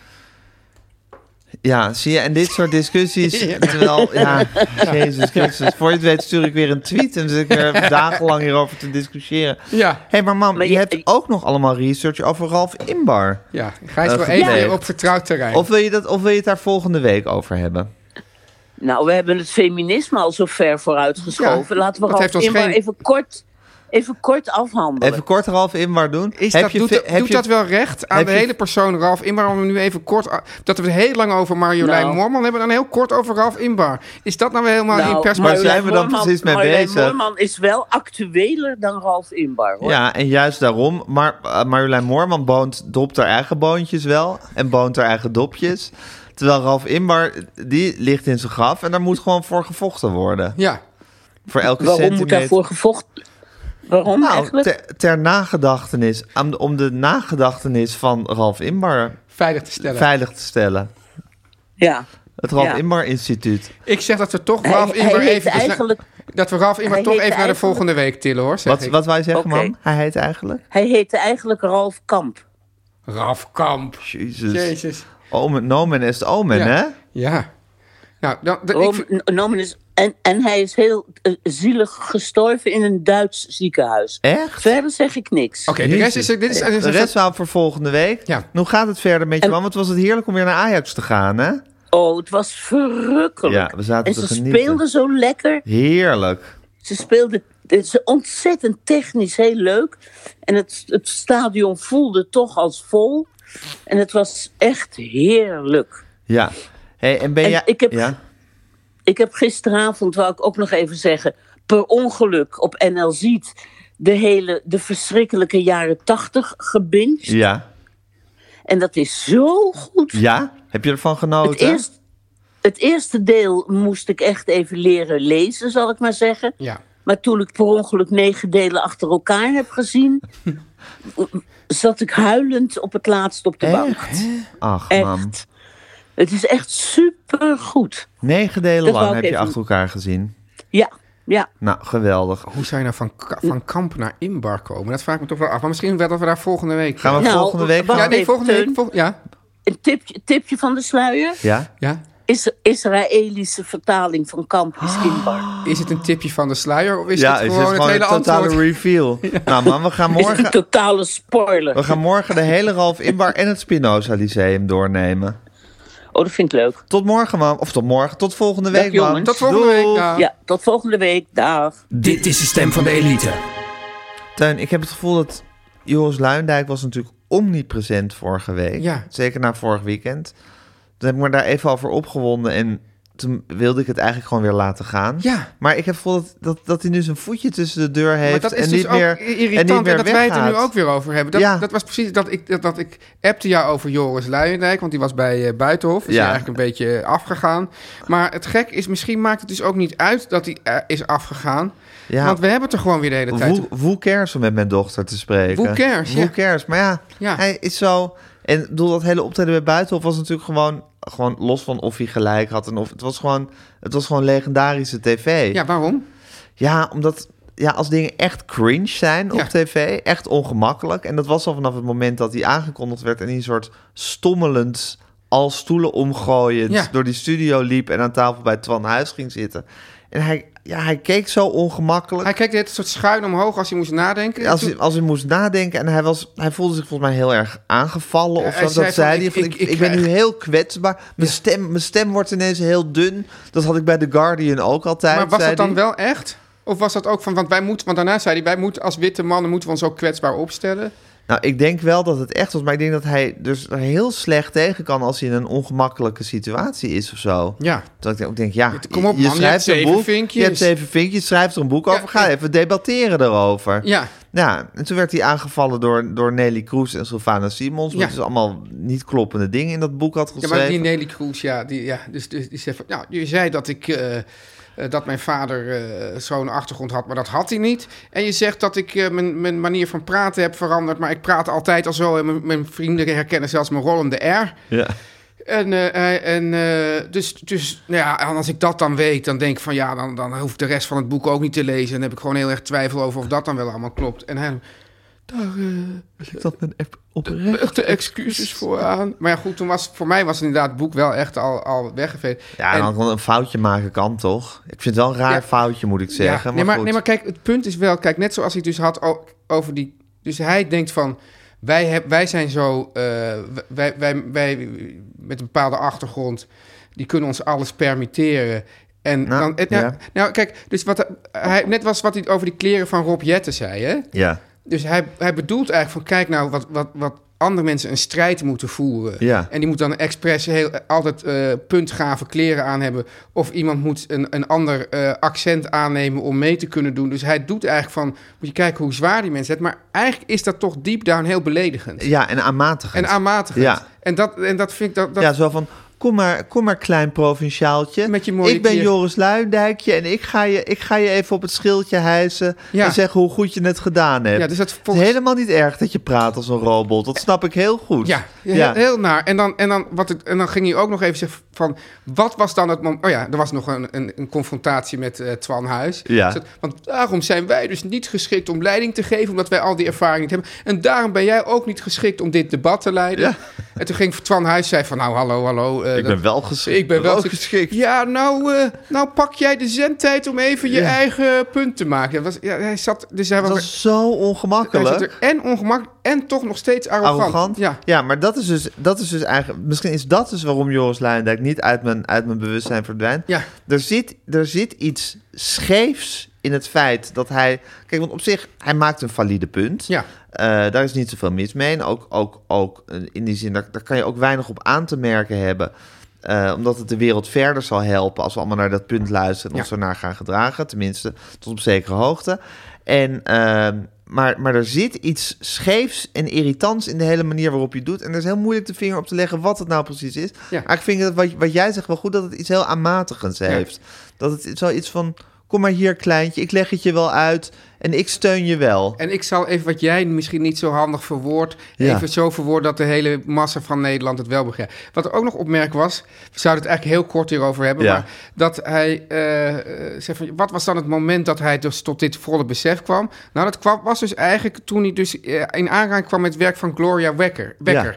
A: Ja, zie je, en dit soort discussies, terwijl, ja, Jezus Christus, voor je het weet stuur ik weer een tweet en dan zit ik weer dagenlang hierover te discussiëren. Hé,
B: Ja,
A: hey, maar mam,
E: Maar
A: je,
E: je-
A: hebt ook nog allemaal research over Ralf Inbar.
B: ja. Gijs
A: Eh,
B: wil even
A: gepleegd.
B: weer op vertrouwd terrein.
A: Of wil, je dat, of wil je het daar volgende week over hebben?
E: Nou, we hebben het feminisme al zo ver vooruitgeschoven.
B: Ja,
E: Laten we
B: dat heeft ons
E: Ralf Imber
B: geen-
E: even kort, even kort afhandelen.
A: Even kort Ralf Inbar doen.
B: is
A: Heb
B: dat,
A: je
B: doet
A: ve-
B: dat-
A: heb
B: doet
A: je-
B: dat wel recht aan
A: heb
B: de
A: je-
B: hele persoon Ralf Inbar? Om nu even kort... a- Dat we het heel lang over Marjolein
E: Nou.
B: Moorman hebben... en dan heel kort over Ralf Inbar. Is dat nou weer helemaal
E: Nou,
B: in
A: Waar
B: perspectief?
A: zijn we dan
E: Moorman-
A: precies mee
E: Marjolein
A: bezig?
E: Moorman is wel actueler dan Ralf Imbar, hoor.
A: Ja, en juist daarom. Maar eh, Marjolein Moorman boont, dopt haar eigen boontjes wel. En boont haar eigen dopjes. Terwijl Ralf Inbar, die ligt in zijn graf. En daar moet gewoon voor gevochten worden.
B: Ja,
A: Voor elke
E: Waarom moet
A: centimeter.
E: daarvoor gevochten? Waarom
A: Nou,
E: eigenlijk?
A: ter, ter nagedachtenis. Om de, om de nagedachtenis van Ralf Inbar
B: veilig te stellen.
A: veilig te stellen.
E: Ja.
A: Het Ralf
E: Ja.
A: Inbar Instituut.
B: Ik zeg dat we toch
E: Hij-
B: Ralf
E: hij
B: Imber
E: heet
B: even... besna-
E: eigenlijk-
B: Dat we Ralf Imber
E: hij
B: toch
E: heet
B: even naar de
E: eigenlijk-
B: volgende week tillen, hoor. Zeg
A: Wat,
B: ik.
A: wat wij zeggen,
E: Oké.
A: man? Hij heet eigenlijk?
E: Hij heette eigenlijk Ralf Kamp.
B: Ralf Kamp.
A: Jezus.
B: Jezus.
A: Omen, nomen est omen,
B: Ja.
A: hè?
B: Ja. Nou, dan, dan- ik,
E: Rome- Nomen is- en, en hij is heel eh, zielig gestorven in een Duits ziekenhuis.
A: Echt?
E: Verder zeg ik niks.
B: Oké, de rest is... Dit is, dit is-
A: De rest wel voor volgende week.
B: Ja.
A: Hoe gaat het verder met je
E: En-
A: man? Want was het heerlijk om weer naar Ajax te gaan, hè?
E: Oh, het was verrukkelijk.
A: Ja, we zaten
E: en
A: te
E: ze
A: genieten.
E: speelden zo lekker.
A: Heerlijk.
E: Ze speelden ze ontzettend technisch heel leuk. En het, het stadion voelde toch als vol. En het was echt heerlijk.
A: Ja. Hey, en ben
E: En
A: jij...
E: ik heb-
A: Ja?
E: Ik heb gisteravond, wou ik ook nog even zeggen, per ongeluk op NL Ziet de hele de verschrikkelijke jaren tachtig gebinged.
A: ja.
E: En dat is zo goed.
A: Ja? Heb je ervan
E: het,
A: genoten?
E: eerst, het eerste deel moest ik echt even leren lezen, zal ik maar zeggen.
B: ja.
E: Maar toen ik per ongeluk negen delen achter elkaar heb gezien, zat ik huilend op het laatst op de bank.
A: Ach, man.
E: Echt. Het is echt supergoed.
A: Negen delen
E: Dat wou
A: lang heb
E: ik
A: je
E: even-
A: achter elkaar gezien.
E: Ja, ja.
A: Nou, geweldig.
B: Hoe zou je nou van, Ka- van Kamp naar Inbar komen? Dat vraag ik me toch wel af. Maar misschien wel dat we daar volgende week...
A: Gaan we
E: Nou,
A: volgende week...
E: wacht
B: ja,
A: Gaan...
B: nee,
E: even,
B: volgende week...
E: Teun.
B: vol- ja,
E: Een tipje, tipje van de sluier.
A: Ja?
B: ja.
E: Is Israëlische vertaling van kamp is Inbar.
B: Is het een tipje van de sluier of is
A: ja,
B: het
A: is
B: gewoon
A: het
B: het,
A: gewoon
B: hele
A: een totale
B: antwoord?
A: reveal. Nou, man, we gaan
E: Is het een
A: morgen...
E: totale
A: We
E: spoiler?
A: gaan morgen de hele Ralf Inbar en het Spinoza Lyceum doornemen.
E: Oh, dat vind ik leuk.
A: Tot morgen, man. Of tot morgen. Tot volgende week, man.
E: jongens.
B: Tot volgende
A: Doeg.
B: week. dag.
E: Ja, tot volgende week. Dag.
C: Dit is de stem van de elite.
A: Tuin, ik heb het gevoel dat Joris Luindijk was natuurlijk omnipresent vorige week.
B: Ja.
A: Zeker na vorig weekend. Toen heb ik me daar even over opgewonden en toen wilde ik het eigenlijk gewoon weer laten gaan.
B: Ja.
A: Maar ik heb het gevoel dat, dat, dat hij nu zijn voetje tussen de deur heeft
B: Maar dat is
A: en,
B: dus
A: niet
B: ook
A: meer, en
B: irritant en,
A: niet meer
B: dat wij het er nu
A: weggaat.
B: ook weer over hebben. Dat,
A: Ja.
B: dat was precies dat ik, dat, dat ik appte jou over Joris Luijendijk, want die was bij eh, Buitenhof. Is
A: Ja.
B: hij eigenlijk een beetje afgegaan. Maar het gek is, misschien maakt het dus ook niet uit dat hij eh, is afgegaan.
A: Ja.
B: Want we hebben het er gewoon weer de hele tijd
A: Woe, woe cares om met mijn dochter te spreken.
B: Woe cares,
A: Woe
B: ja.
A: cares. Maar ja,
B: Ja.
A: hij is zo... En ik bedoel, dat hele optreden bij Buitenhof was natuurlijk gewoon... Gewoon los van of hij gelijk had en of... Het was gewoon, het was gewoon legendarische tv.
B: Ja, waarom?
A: Ja, omdat ja, als dingen echt cringe zijn op
B: Ja.
A: tv, echt ongemakkelijk. En dat was al vanaf het moment dat hij aangekondigd werd en hij een soort stommelend al stoelen omgooiend
B: Ja.
A: door die studio liep en aan tafel bij Twan Huis ging zitten. En hij, ja, hij keek zo ongemakkelijk.
B: Hij keek dit soort schuin omhoog als hij moest nadenken.
A: als,
B: Toen-
A: hij, als hij moest nadenken en hij, was, hij voelde zich volgens mij heel erg aangevallen. Of
B: Hij
A: zo,
B: zei
A: dat
B: van,
A: zei
B: ik-
A: hij. van,
B: ik-
A: Ik,
B: ik
A: ik, ben
B: krijg-
A: nu heel kwetsbaar. Mijn, stem, mijn stem wordt ineens heel dun. Dat had ik bij The Guardian ook altijd.
B: Maar was
A: zei
B: dat
A: hij.
B: dan wel echt? Of was dat ook van, want wij moeten, want daarna zei hij, wij moeten als witte mannen moeten we ons ook kwetsbaar opstellen.
A: Nou, ik denk wel dat het echt was. Maar ik denk dat hij dus er heel slecht tegen kan als hij in een ongemakkelijke situatie is of zo.
B: Ja.
A: Dat ik ook denk, ja,
B: Kom op,
A: je
B: man, je
A: schrijft
B: hebt
A: een
B: zeven
A: boek.
B: vinkjes.
A: Je hebt zeven vinkjes, schrijft er een boek
B: Ja,
A: over. Ga
B: ja.
A: even debatteren daarover.
B: Ja.
A: Ja, en toen werd hij aangevallen door, door Nelly Kroes en Sylvana Simons.
B: Ja.
A: Ja. Dus allemaal niet kloppende dingen in dat boek had
B: Ja,
A: geschreven.
B: maar die Nelly Kroes, ja, die, ja dus, dus die zei van, nou, je zei dat ik... eh, eh, dat mijn vader eh, zo'n achtergrond had, maar dat had hij niet. En je zegt dat ik eh, mijn, mijn manier van praten heb veranderd, maar ik praat altijd al zo. En mijn, mijn vrienden herkennen zelfs mijn rollende R.
A: Ja.
B: En, eh, eh, en eh, dus, dus nou ja, en als ik dat dan weet, dan denk ik van ja, dan, dan hoef ik de rest van het boek ook niet te lezen. En dan heb ik gewoon heel erg twijfel over of dat dan wel allemaal klopt. En hij,
A: Ik zat met app oprecht.
B: echte excuses voor aan. Maar ja, goed, toen was, voor mij was inderdaad het boek wel echt al, al weggeveegd.
A: Ja,
B: En-
A: dan kan een foutje maken kan toch? Ik vind het wel een raar
B: Ja.
A: foutje, moet ik zeggen.
B: nee, maar,
A: goed.
B: nee, maar kijk, het punt is wel, kijk, net zoals hij het dus had o- over die. Dus hij denkt van. Wij, heb, wij zijn zo. eh, wij, wij, wij met een bepaalde achtergrond. die kunnen ons alles permitteren. En
A: Nou,
B: dan. en nou,
A: ja.
B: nou, kijk, dus wat hij. Net was wat hij over die kleren van Rob Jetten zei, hè?
A: Ja,
B: Dus hij, hij bedoelt eigenlijk van kijk nou wat, wat, wat andere mensen een strijd moeten voeren.
A: Ja.
B: En die moet dan expres heel, altijd eh, puntgave kleren aan hebben. Of iemand moet een, een ander eh, accent aannemen om mee te kunnen doen. Dus hij doet eigenlijk van moet je kijken hoe zwaar die mensen het. Maar eigenlijk is dat toch deep down heel beledigend.
A: ja en aanmatigend.
B: En aanmatigend.
A: Ja.
B: En, dat, en dat vind ik dat... dat
A: Ja, zo van, kom maar, kom maar klein provinciaaltje.
B: Met je mooie
A: ik ben
B: keer-
A: Joris Luijendijkje en ik ga, je, ik ga je even op het schildje hijsen...
B: Ja.
A: en zeggen hoe goed je het gedaan hebt.
B: Ja, dus dat
A: Het
B: volgens-
A: is helemaal niet erg dat je praat als een robot. Dat snap ik heel goed.
B: Ja, heel, heel naar. En dan, en, dan wat het, en dan ging hij ook nog even zeggen van... wat was dan het moment... Oh ja, er was nog een, een, een confrontatie met eh, Twan Huis.
A: Ja.
B: Dus dat- want daarom zijn wij dus niet geschikt om leiding te geven... omdat wij al die ervaring niet hebben. En daarom ben jij ook niet geschikt om dit debat te leiden.
A: Ja.
B: En toen ging Twan Huis zei van... nou, hallo, hallo. eh,
A: Ik
B: dat-
A: ben wel geschikt.
B: ik ben wel geschikt. Ja, nou, eh, nou pak jij de zendtijd om even je eigen punt te maken. Dat was, ja, hij zat, dus hij was,
A: Dat is zo
B: hij zat
A: ongemakkelijk.
B: er en ongemakkelijk en toch nog steeds arrogant.
A: Arrogant.
B: Ja.
A: maar dat is, dus, dat is dus eigenlijk... Misschien is dat dus waarom Joris Luijendijk niet uit mijn, uit mijn bewustzijn verdwijnt.
B: Ja.
A: Er, zit, er zit iets scheefs in het feit dat hij... Kijk, want op zich, hij maakt een valide punt.
B: Ja.
A: Eh, daar is niet zoveel mis mee. En ook, ook, ook eh, in die zin, daar, daar kan je ook weinig op aan te merken hebben. Eh, omdat het de wereld verder zal helpen als we allemaal naar dat punt luisteren en ons
B: Ja.
A: daarnaar gaan gedragen. Tenminste, tot op zekere hoogte. En, ehm, maar, maar er zit iets scheefs en irritants in de hele manier waarop je het doet. En er is heel moeilijk de vinger op te leggen wat het nou precies is.
B: Ja.
A: Maar ik vind dat wat, wat jij zegt wel goed, dat het iets heel aanmatigends heeft. Dat het zoiets van, kom maar hier kleintje, ik leg het je wel uit en ik steun je wel.
B: En ik zal even wat jij misschien niet zo handig verwoord,
A: Ja.
B: even zo verwoord dat de hele massa van Nederland het wel begrijpt. Wat er ook nog opmerk was, we zouden het eigenlijk heel kort hierover hebben,
A: Ja.
B: maar dat hij eh, eh, zegt van, wat was dan het moment dat hij dus tot dit volle besef kwam? Nou, dat kwam, was dus eigenlijk toen hij dus eh, in aanraking kwam met het werk van Gloria Wekker. Wekker.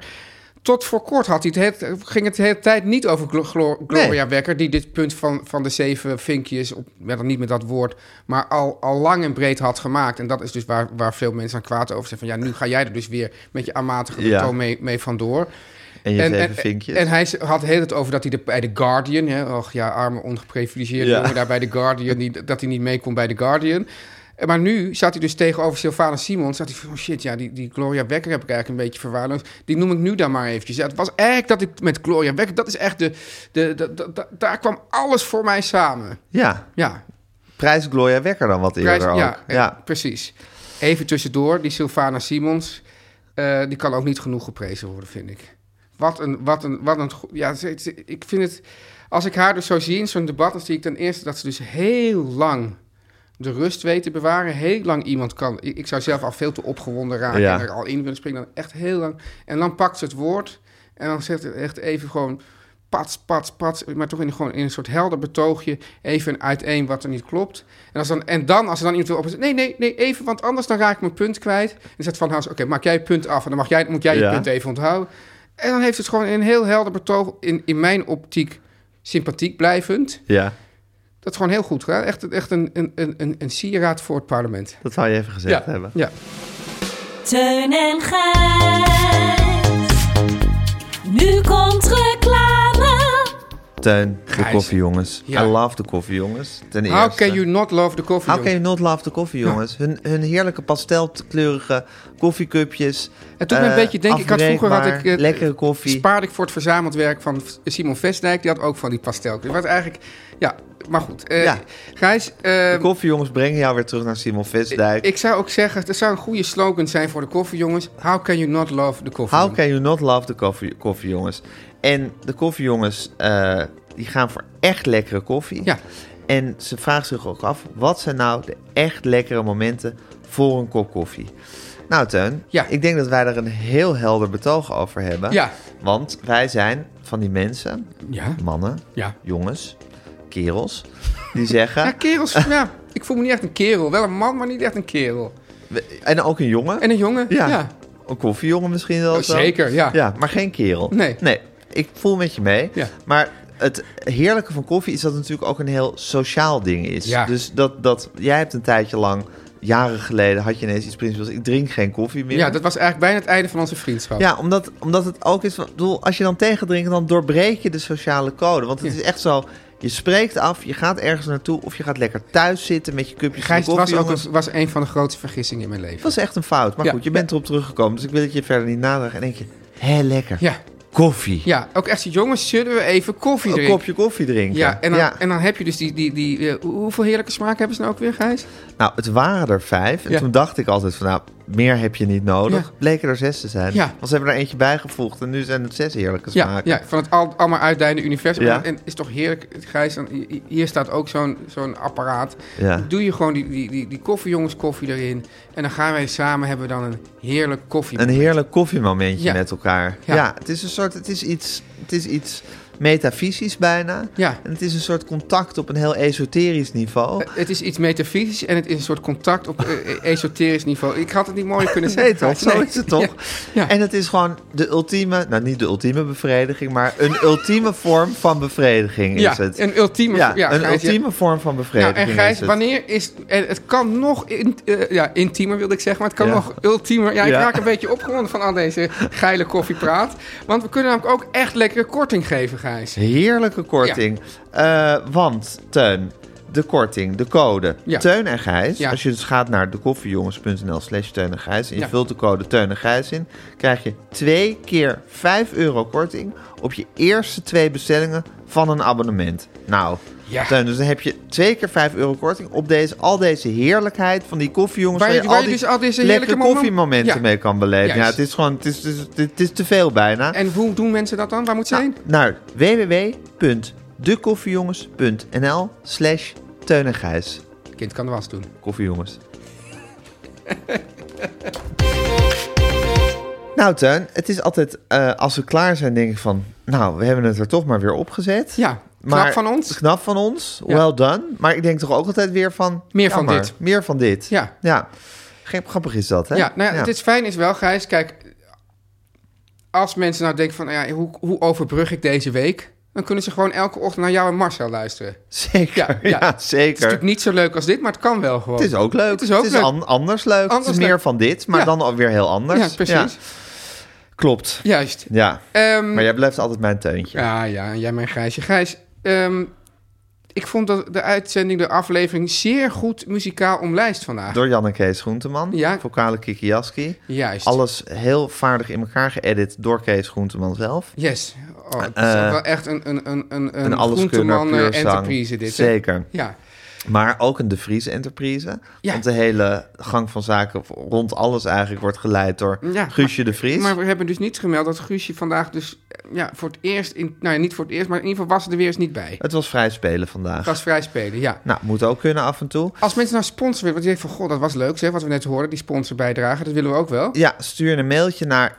B: Tot voor kort had hij het heel- ging het de hele tijd niet over Glo- Glo- Gloria
A: Nee.
B: Wekker, die dit punt van, van de zeven vinkjes, op, ja, dan niet met dat woord, maar al, al lang en breed had gemaakt. En dat is dus waar, waar veel mensen aan kwaad over zijn. Van ja, nu ga jij er dus weer met je aanmatige
A: Ja.
B: toon mee, mee vandoor.
A: En je zeven vinkjes.
B: en hij had heel het over dat hij de, bij The Guardian, hè, och ja, arme ongeprivilegeerde
A: Ja.
B: jongen daar bij The Guardian, die, dat hij niet mee kon bij The Guardian. Eh, Maar nu zat hij dus tegenover Sylvana Simons. Zat hij van, oh shit, ja, die, die Gloria Wekker heb ik eigenlijk een beetje verwaarloosd. Die noem ik nu dan maar eventjes. Ja, het was eigenlijk dat ik met Gloria Wekker, dat is echt de, de, de, de- de- daar kwam alles voor mij samen.
A: Ja,
B: Ja,
A: prijs Gloria Wekker dan wat eerder ook.
B: ja,
A: Ja,
B: eh, precies. Even tussendoor, die Sylvana Simons, eh, die kan ook niet genoeg geprezen worden, vind ik. Wat een, wat een, wat een, go- ja, ze- ze- ik vind het, als ik haar dus zo zie in zo'n debat, dan zie ik ten eerste dat ze dus heel lang de rust weet te bewaren, heel lang iemand kan. Ik, ik zou zelf al veel te opgewonden raken
A: Ja.
B: en er al in willen springen, dan echt heel lang. En dan pakt ze het woord en dan zegt het echt even gewoon pats, pats, pats, maar toch in, gewoon in een soort helder betoogje even uiteen wat er niet klopt. En, als dan, en dan, als er dan iemand wil op nee, nee, nee, even, want anders dan raak ik mijn punt kwijt. En zegt Van Haas, oké, maak jij je punt af en dan mag jij, moet jij je
A: Ja.
B: punt even onthouden. En dan heeft het gewoon een heel helder betoog, in, in mijn optiek sympathiek blijvend.
A: Ja,
B: Dat is gewoon heel goed gedaan. Echt, echt een, een, een, een, een sieraad voor het parlement.
A: dat zou je even gezegd hebben.
B: ja.
D: Teun en Gijs. Nu komt reclame.
A: Teun, de
B: Gijs.
A: koffie jongens.
B: Ja.
A: I love de koffie jongens. Ten eerste.
B: How can you not love the coffee?
A: How can you not love de koffie jongens? Hun, hun heerlijke pastelkleurige koffiecupjes.
B: Het doet me een
A: eh,
B: beetje denken. Ik had vroeger had ik
A: afbreekbaar,
B: eh,
A: lekkere koffie.
B: Spaarde ik voor het verzameld werk van V- Simon Vestdijk. Die had ook van die pastel. Dus wat eigenlijk, ja, maar goed. Eh,
A: Ja.
B: Gijs, eh,
A: De koffiejongens brengen jou weer terug naar Simon Visdijk.
B: ik zou ook zeggen, dat zou een goede slogan zijn voor de koffie, jongens. How can you not love the coffee?
A: How can you not love de koffie, koffiejongens? En de koffiejongens eh, die gaan voor echt lekkere koffie.
B: Ja.
A: En ze vragen zich ook af, wat zijn nou de echt lekkere momenten voor een kop koffie? Nou Teun,
B: Ja.
A: ik denk dat wij er een heel helder betoog over hebben.
B: Ja.
A: Want wij zijn van die mensen,
B: Ja.
A: mannen,
B: Ja.
A: jongens, kerels, die zeggen...
B: Ja, kerels. ja, ik voel me niet echt een kerel. Wel een man, maar niet echt een kerel.
A: we- en ook een jongen.
B: En een jongen?
A: Ja. Een koffiejongen misschien wel.
B: Oh,
A: zo.
B: zeker, ja.
A: maar geen kerel.
B: Nee.
A: Nee, ik voel met je mee.
B: Ja.
A: Maar het heerlijke van koffie is dat het natuurlijk ook een heel sociaal ding is.
B: Ja.
A: Dus dat, dat jij hebt een tijdje lang, jaren geleden, had je ineens iets principes. Ik drink geen koffie meer.
B: Ja, dat was eigenlijk bijna het einde van onze vriendschap.
A: Ja, omdat, omdat het ook is... van- ik bedoel, als je dan tegendrinkt, dan doorbreek je de sociale code. Want het
B: Ja.
A: is echt zo... Je spreekt af, je gaat ergens naartoe... of je gaat lekker thuis zitten met je cupje
B: Gijs, het
A: koffie.
B: was ook
A: jongens.
B: een, was een van de grootste vergissingen in mijn leven.
A: Het was echt een fout. Maar
B: Ja.
A: goed, je bent erop teruggekomen. Dus ik wil dat je verder niet nadagen. En denk je, hé, lekker.
B: Ja,
A: Koffie.
B: ja, ook echt, jongens, zullen we even koffie
A: Een
B: drinken?
A: kopje koffie drinken.
B: Ja, en dan,
A: Ja.
B: En dan heb je dus die... die, die eh, hoeveel heerlijke smaken hebben ze nou ook weer, Gijs?
A: Nou, het waren er vijf. En
B: Ja.
A: toen dacht ik altijd van, nou, meer heb je niet nodig.
B: Ja.
A: Bleken er zes te zijn.
B: Ja.
A: Want ze hebben er eentje bijgevoegd. En nu zijn het zes heerlijke
B: Ja,
A: smaken.
B: ja, van het al, allemaal uitdijende universum.
A: Ja.
B: En is toch heerlijk, Gijs, dan, hi- hier staat ook zo'n zo'n apparaat.
A: Ja.
B: Doe je gewoon die, die, die, die koffiejongens koffie erin. En dan gaan wij samen, hebben we dan een heerlijk koffie.
A: Een heerlijk koffiemomentje
B: Ja.
A: met elkaar.
B: Ja.
A: Ja. het is een soort, het is iets, het is iets metafysisch bijna.
B: Ja.
A: En het is een soort contact op een heel esoterisch niveau.
B: Eh, Het is iets metafysisch en het is een soort contact op eh, esoterisch niveau. Ik had het niet mooier kunnen
A: Nee,
B: zeggen.
A: toch?
B: Gijs.
A: Zo
B: Nee.
A: is het toch?
B: Ja. Ja.
A: En het is gewoon de ultieme, nou niet de ultieme bevrediging, maar een ultieme vorm van bevrediging
B: Ja,
A: is het.
B: een ultieme...
A: ja,
B: ja,
A: een
B: Gijs, ja.
A: ultieme vorm van
B: Nou,
A: bevrediging
B: en Gijs,
A: is het.
B: wanneer is... En het kan nog in, eh, ja, intiemer, wilde ik zeggen, maar het kan
A: Ja.
B: nog ultiemer. Ja, ik
A: Ja.
B: raak een beetje opgewonden van al deze geile koffiepraat. Want we kunnen namelijk ook echt lekkere korting geven, Gijs.
A: Heerlijke korting. Eh, want, Teun, de korting, de code.
B: Ja.
A: Teun en Gijs.
B: Ja.
A: Als je dus gaat naar dekoffiejongens.nl slash Teun en Gijs... en je
B: Ja.
A: vult de code Teun en Gijs in... krijg je twee keer 5 euro korting... op je eerste twee bestellingen van een abonnement. Nou,
B: Ja.
A: Teun, dus dan heb je twee keer 5 euro korting... op deze, al deze heerlijkheid van die koffiejongens...
B: Waar je-
A: al
B: waar je
A: die
B: dus al deze
A: lekkere
B: heerlijke momen-
A: koffiemomenten
B: Ja.
A: mee kan beleven. Ja,
B: Juist.
A: het is gewoon... Het is, het is, het is te veel bijna.
B: En hoe doen mensen dat dan? Waar moet ze
A: Nou.
B: heen?
A: Naar www.dekoffiejongens.nl slash Teun en Gijs.
B: Kind kan de was doen.
A: Koffiejongens. nou Teun, het is altijd eh, als we klaar zijn denk ik van... Nou, we hebben het er toch maar weer opgezet.
B: Ja, knap
A: Maar-
B: van ons.
A: Knap van ons, well done. Maar ik denk toch ook altijd weer van...
B: Meer van
A: jammer,
B: dit.
A: Meer van dit.
B: Ja.
A: ja. Geen- Grappig is dat, hè?
B: Ja, nou ja, het is fijn is wel, Gijs. Kijk, als mensen nou denken van, ja, hoe, hoe overbrug ik deze week? Dan kunnen ze gewoon elke ochtend naar jou en Marcel luisteren.
A: Zeker,
B: Ja,
A: ja,
B: ja. Het is
A: zeker.
B: natuurlijk niet zo leuk als dit, maar het kan wel gewoon.
A: Het is ook leuk.
B: Het is ook leuk.
A: an- anders leuk.
B: Anders
A: het is meer
B: leuk.
A: van dit, maar
B: Ja.
A: dan alweer heel anders.
B: Ja, precies.
A: Klopt.
B: Juist.
A: Ja.
B: Ehm,
A: Maar jij blijft altijd mijn teuntje.
B: ja, ja, en jij mijn Gijsje. Gijs, ehm, ik vond dat de uitzending, de aflevering, zeer goed muzikaal omlijst vandaag.
A: Door Jan en Kees Groenteman.
B: Ja.
A: Vocale Kiki Jaski.
B: Juist.
A: Alles heel vaardig in elkaar geëdit door Kees Groenteman zelf.
B: Yes. Oh, het is
A: Eh,
B: ook wel echt een, een, een, een,
A: Een alleskunner,
B: groenteman, eh,
A: puur zang.
B: enterprise dit. hè?
A: Zeker.
B: Ja.
A: Maar ook een De Vries Enterprise.
B: Ja.
A: Want de hele gang van zaken rond alles eigenlijk wordt geleid door
B: Ja,
A: Guusje De Vries.
B: Maar we hebben dus niet gemeld dat Guusje vandaag dus eh, ja, voor het eerst, in, nou ja, niet voor het eerst, maar in ieder geval was ze er weer eens niet bij.
A: Het was vrij spelen vandaag.
B: Gastvrij spelen, ja.
A: Nou, moet ook kunnen af en toe.
B: Als mensen nou sponsor willen, want je denkt van, god, dat was leuk zeg, wat we net hoorden, die sponsor bijdragen, dat willen we ook wel.
A: Ja, stuur een mailtje naar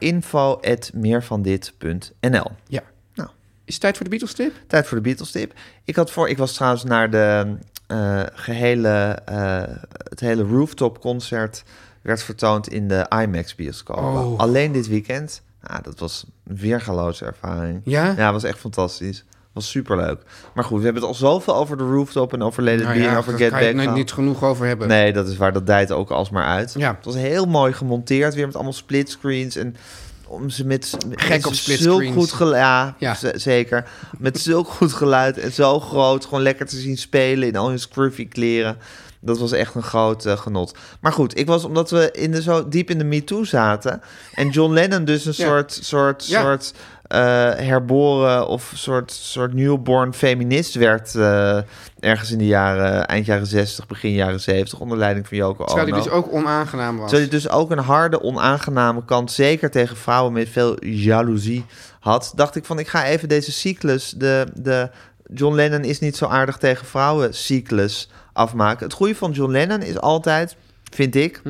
A: info.meervandit.nl.
B: Ja.
A: Nou.
B: Is het tijd voor de Beatles tip?
A: Tijd voor de Beatles tip. Ik, had voor, ik was trouwens naar de, eh, gehele, eh, het hele rooftop concert werd vertoond in de IMAX bioscoop.
B: Oh.
A: Alleen dit weekend. Ja, dat was een weergaloze ervaring.
B: Ja?
A: Ja, was echt fantastisch. Was superleuk. Maar goed, we hebben het al zoveel over de rooftop en over Lady
B: Nou
A: Bee en
B: ja,
A: over
B: daar
A: Get
B: kan je
A: Back.
B: het
A: gehad.
B: niet genoeg over hebben.
A: Nee, dat is waar. Dat dijt ook alsmaar uit.
B: Ja.
A: Het was heel mooi gemonteerd. Weer met allemaal splitscreens. En om ze met... met-
B: Gek
A: met
B: op
A: Zulk
B: splitscreens.
A: goed geluid. Ja,
B: Ja.
A: z- zeker. Met zulk goed geluid en zo groot. Gewoon lekker te zien spelen in al hun scruffy kleren. Dat was echt een groot eh, genot. Maar goed, ik was omdat we in de, zo diep in de MeToo zaten. En John Lennon dus een
B: Ja.
A: soort, soort,
B: Ja.
A: soort eh, herboren of soort, soort newborn feminist werd. eh, ergens in de jaren, eind jaren 60, begin jaren 70. Onder leiding van Yoko
B: Terwijl
A: Ono.
B: die dus ook onaangenaam was.
A: Terwijl hij dus ook een harde, onaangename kant, zeker tegen vrouwen met veel jaloezie had, dacht ik van ik ga even deze cyclus, de, de John Lennon is niet zo aardig tegen vrouwen cyclus afmaken. Het goede van John Lennon is altijd, vind ik,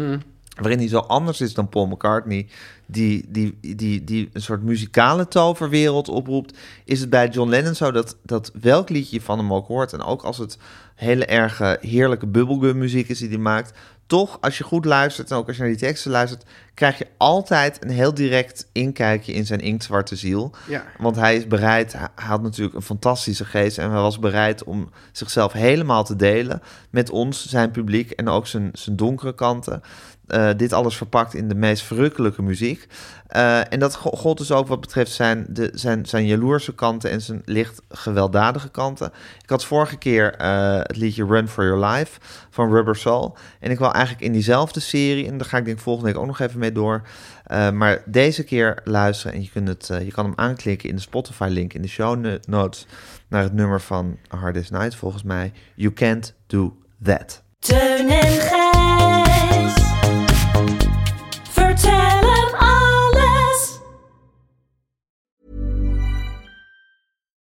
A: waarin hij zo anders is dan Paul McCartney, die, die, die, die een soort muzikale toverwereld oproept, is het bij John Lennon zo dat, dat welk liedje je van hem ook hoort, en ook als het hele erge, heerlijke bubblegum muziek is die hij maakt, toch als je goed luistert en ook als je naar die teksten luistert, krijg je altijd een heel direct inkijkje in zijn inktzwarte ziel.
B: Ja.
A: Want hij is bereid, hij had natuurlijk een fantastische geest en hij was bereid om zichzelf helemaal te delen met ons, zijn publiek en ook zijn, zijn donkere kanten. Eh, dit alles verpakt in de meest verrukkelijke muziek. Eh, en dat go- gold dus ook wat betreft zijn, de, zijn, zijn jaloerse kanten en zijn licht gewelddadige kanten. Ik had vorige keer eh, het liedje Run for Your Life van Rubber Soul. En ik wil eigenlijk in diezelfde serie, en daar ga ik denk ik volgende week ook nog even mee door. eh, maar deze keer luisteren en je, kunt het, eh, je kan hem aanklikken in de Spotify-link in de show no- notes naar het nummer van Hardest Night volgens mij. You can't do that.
D: Teun en Gijs. Vertel hem alles.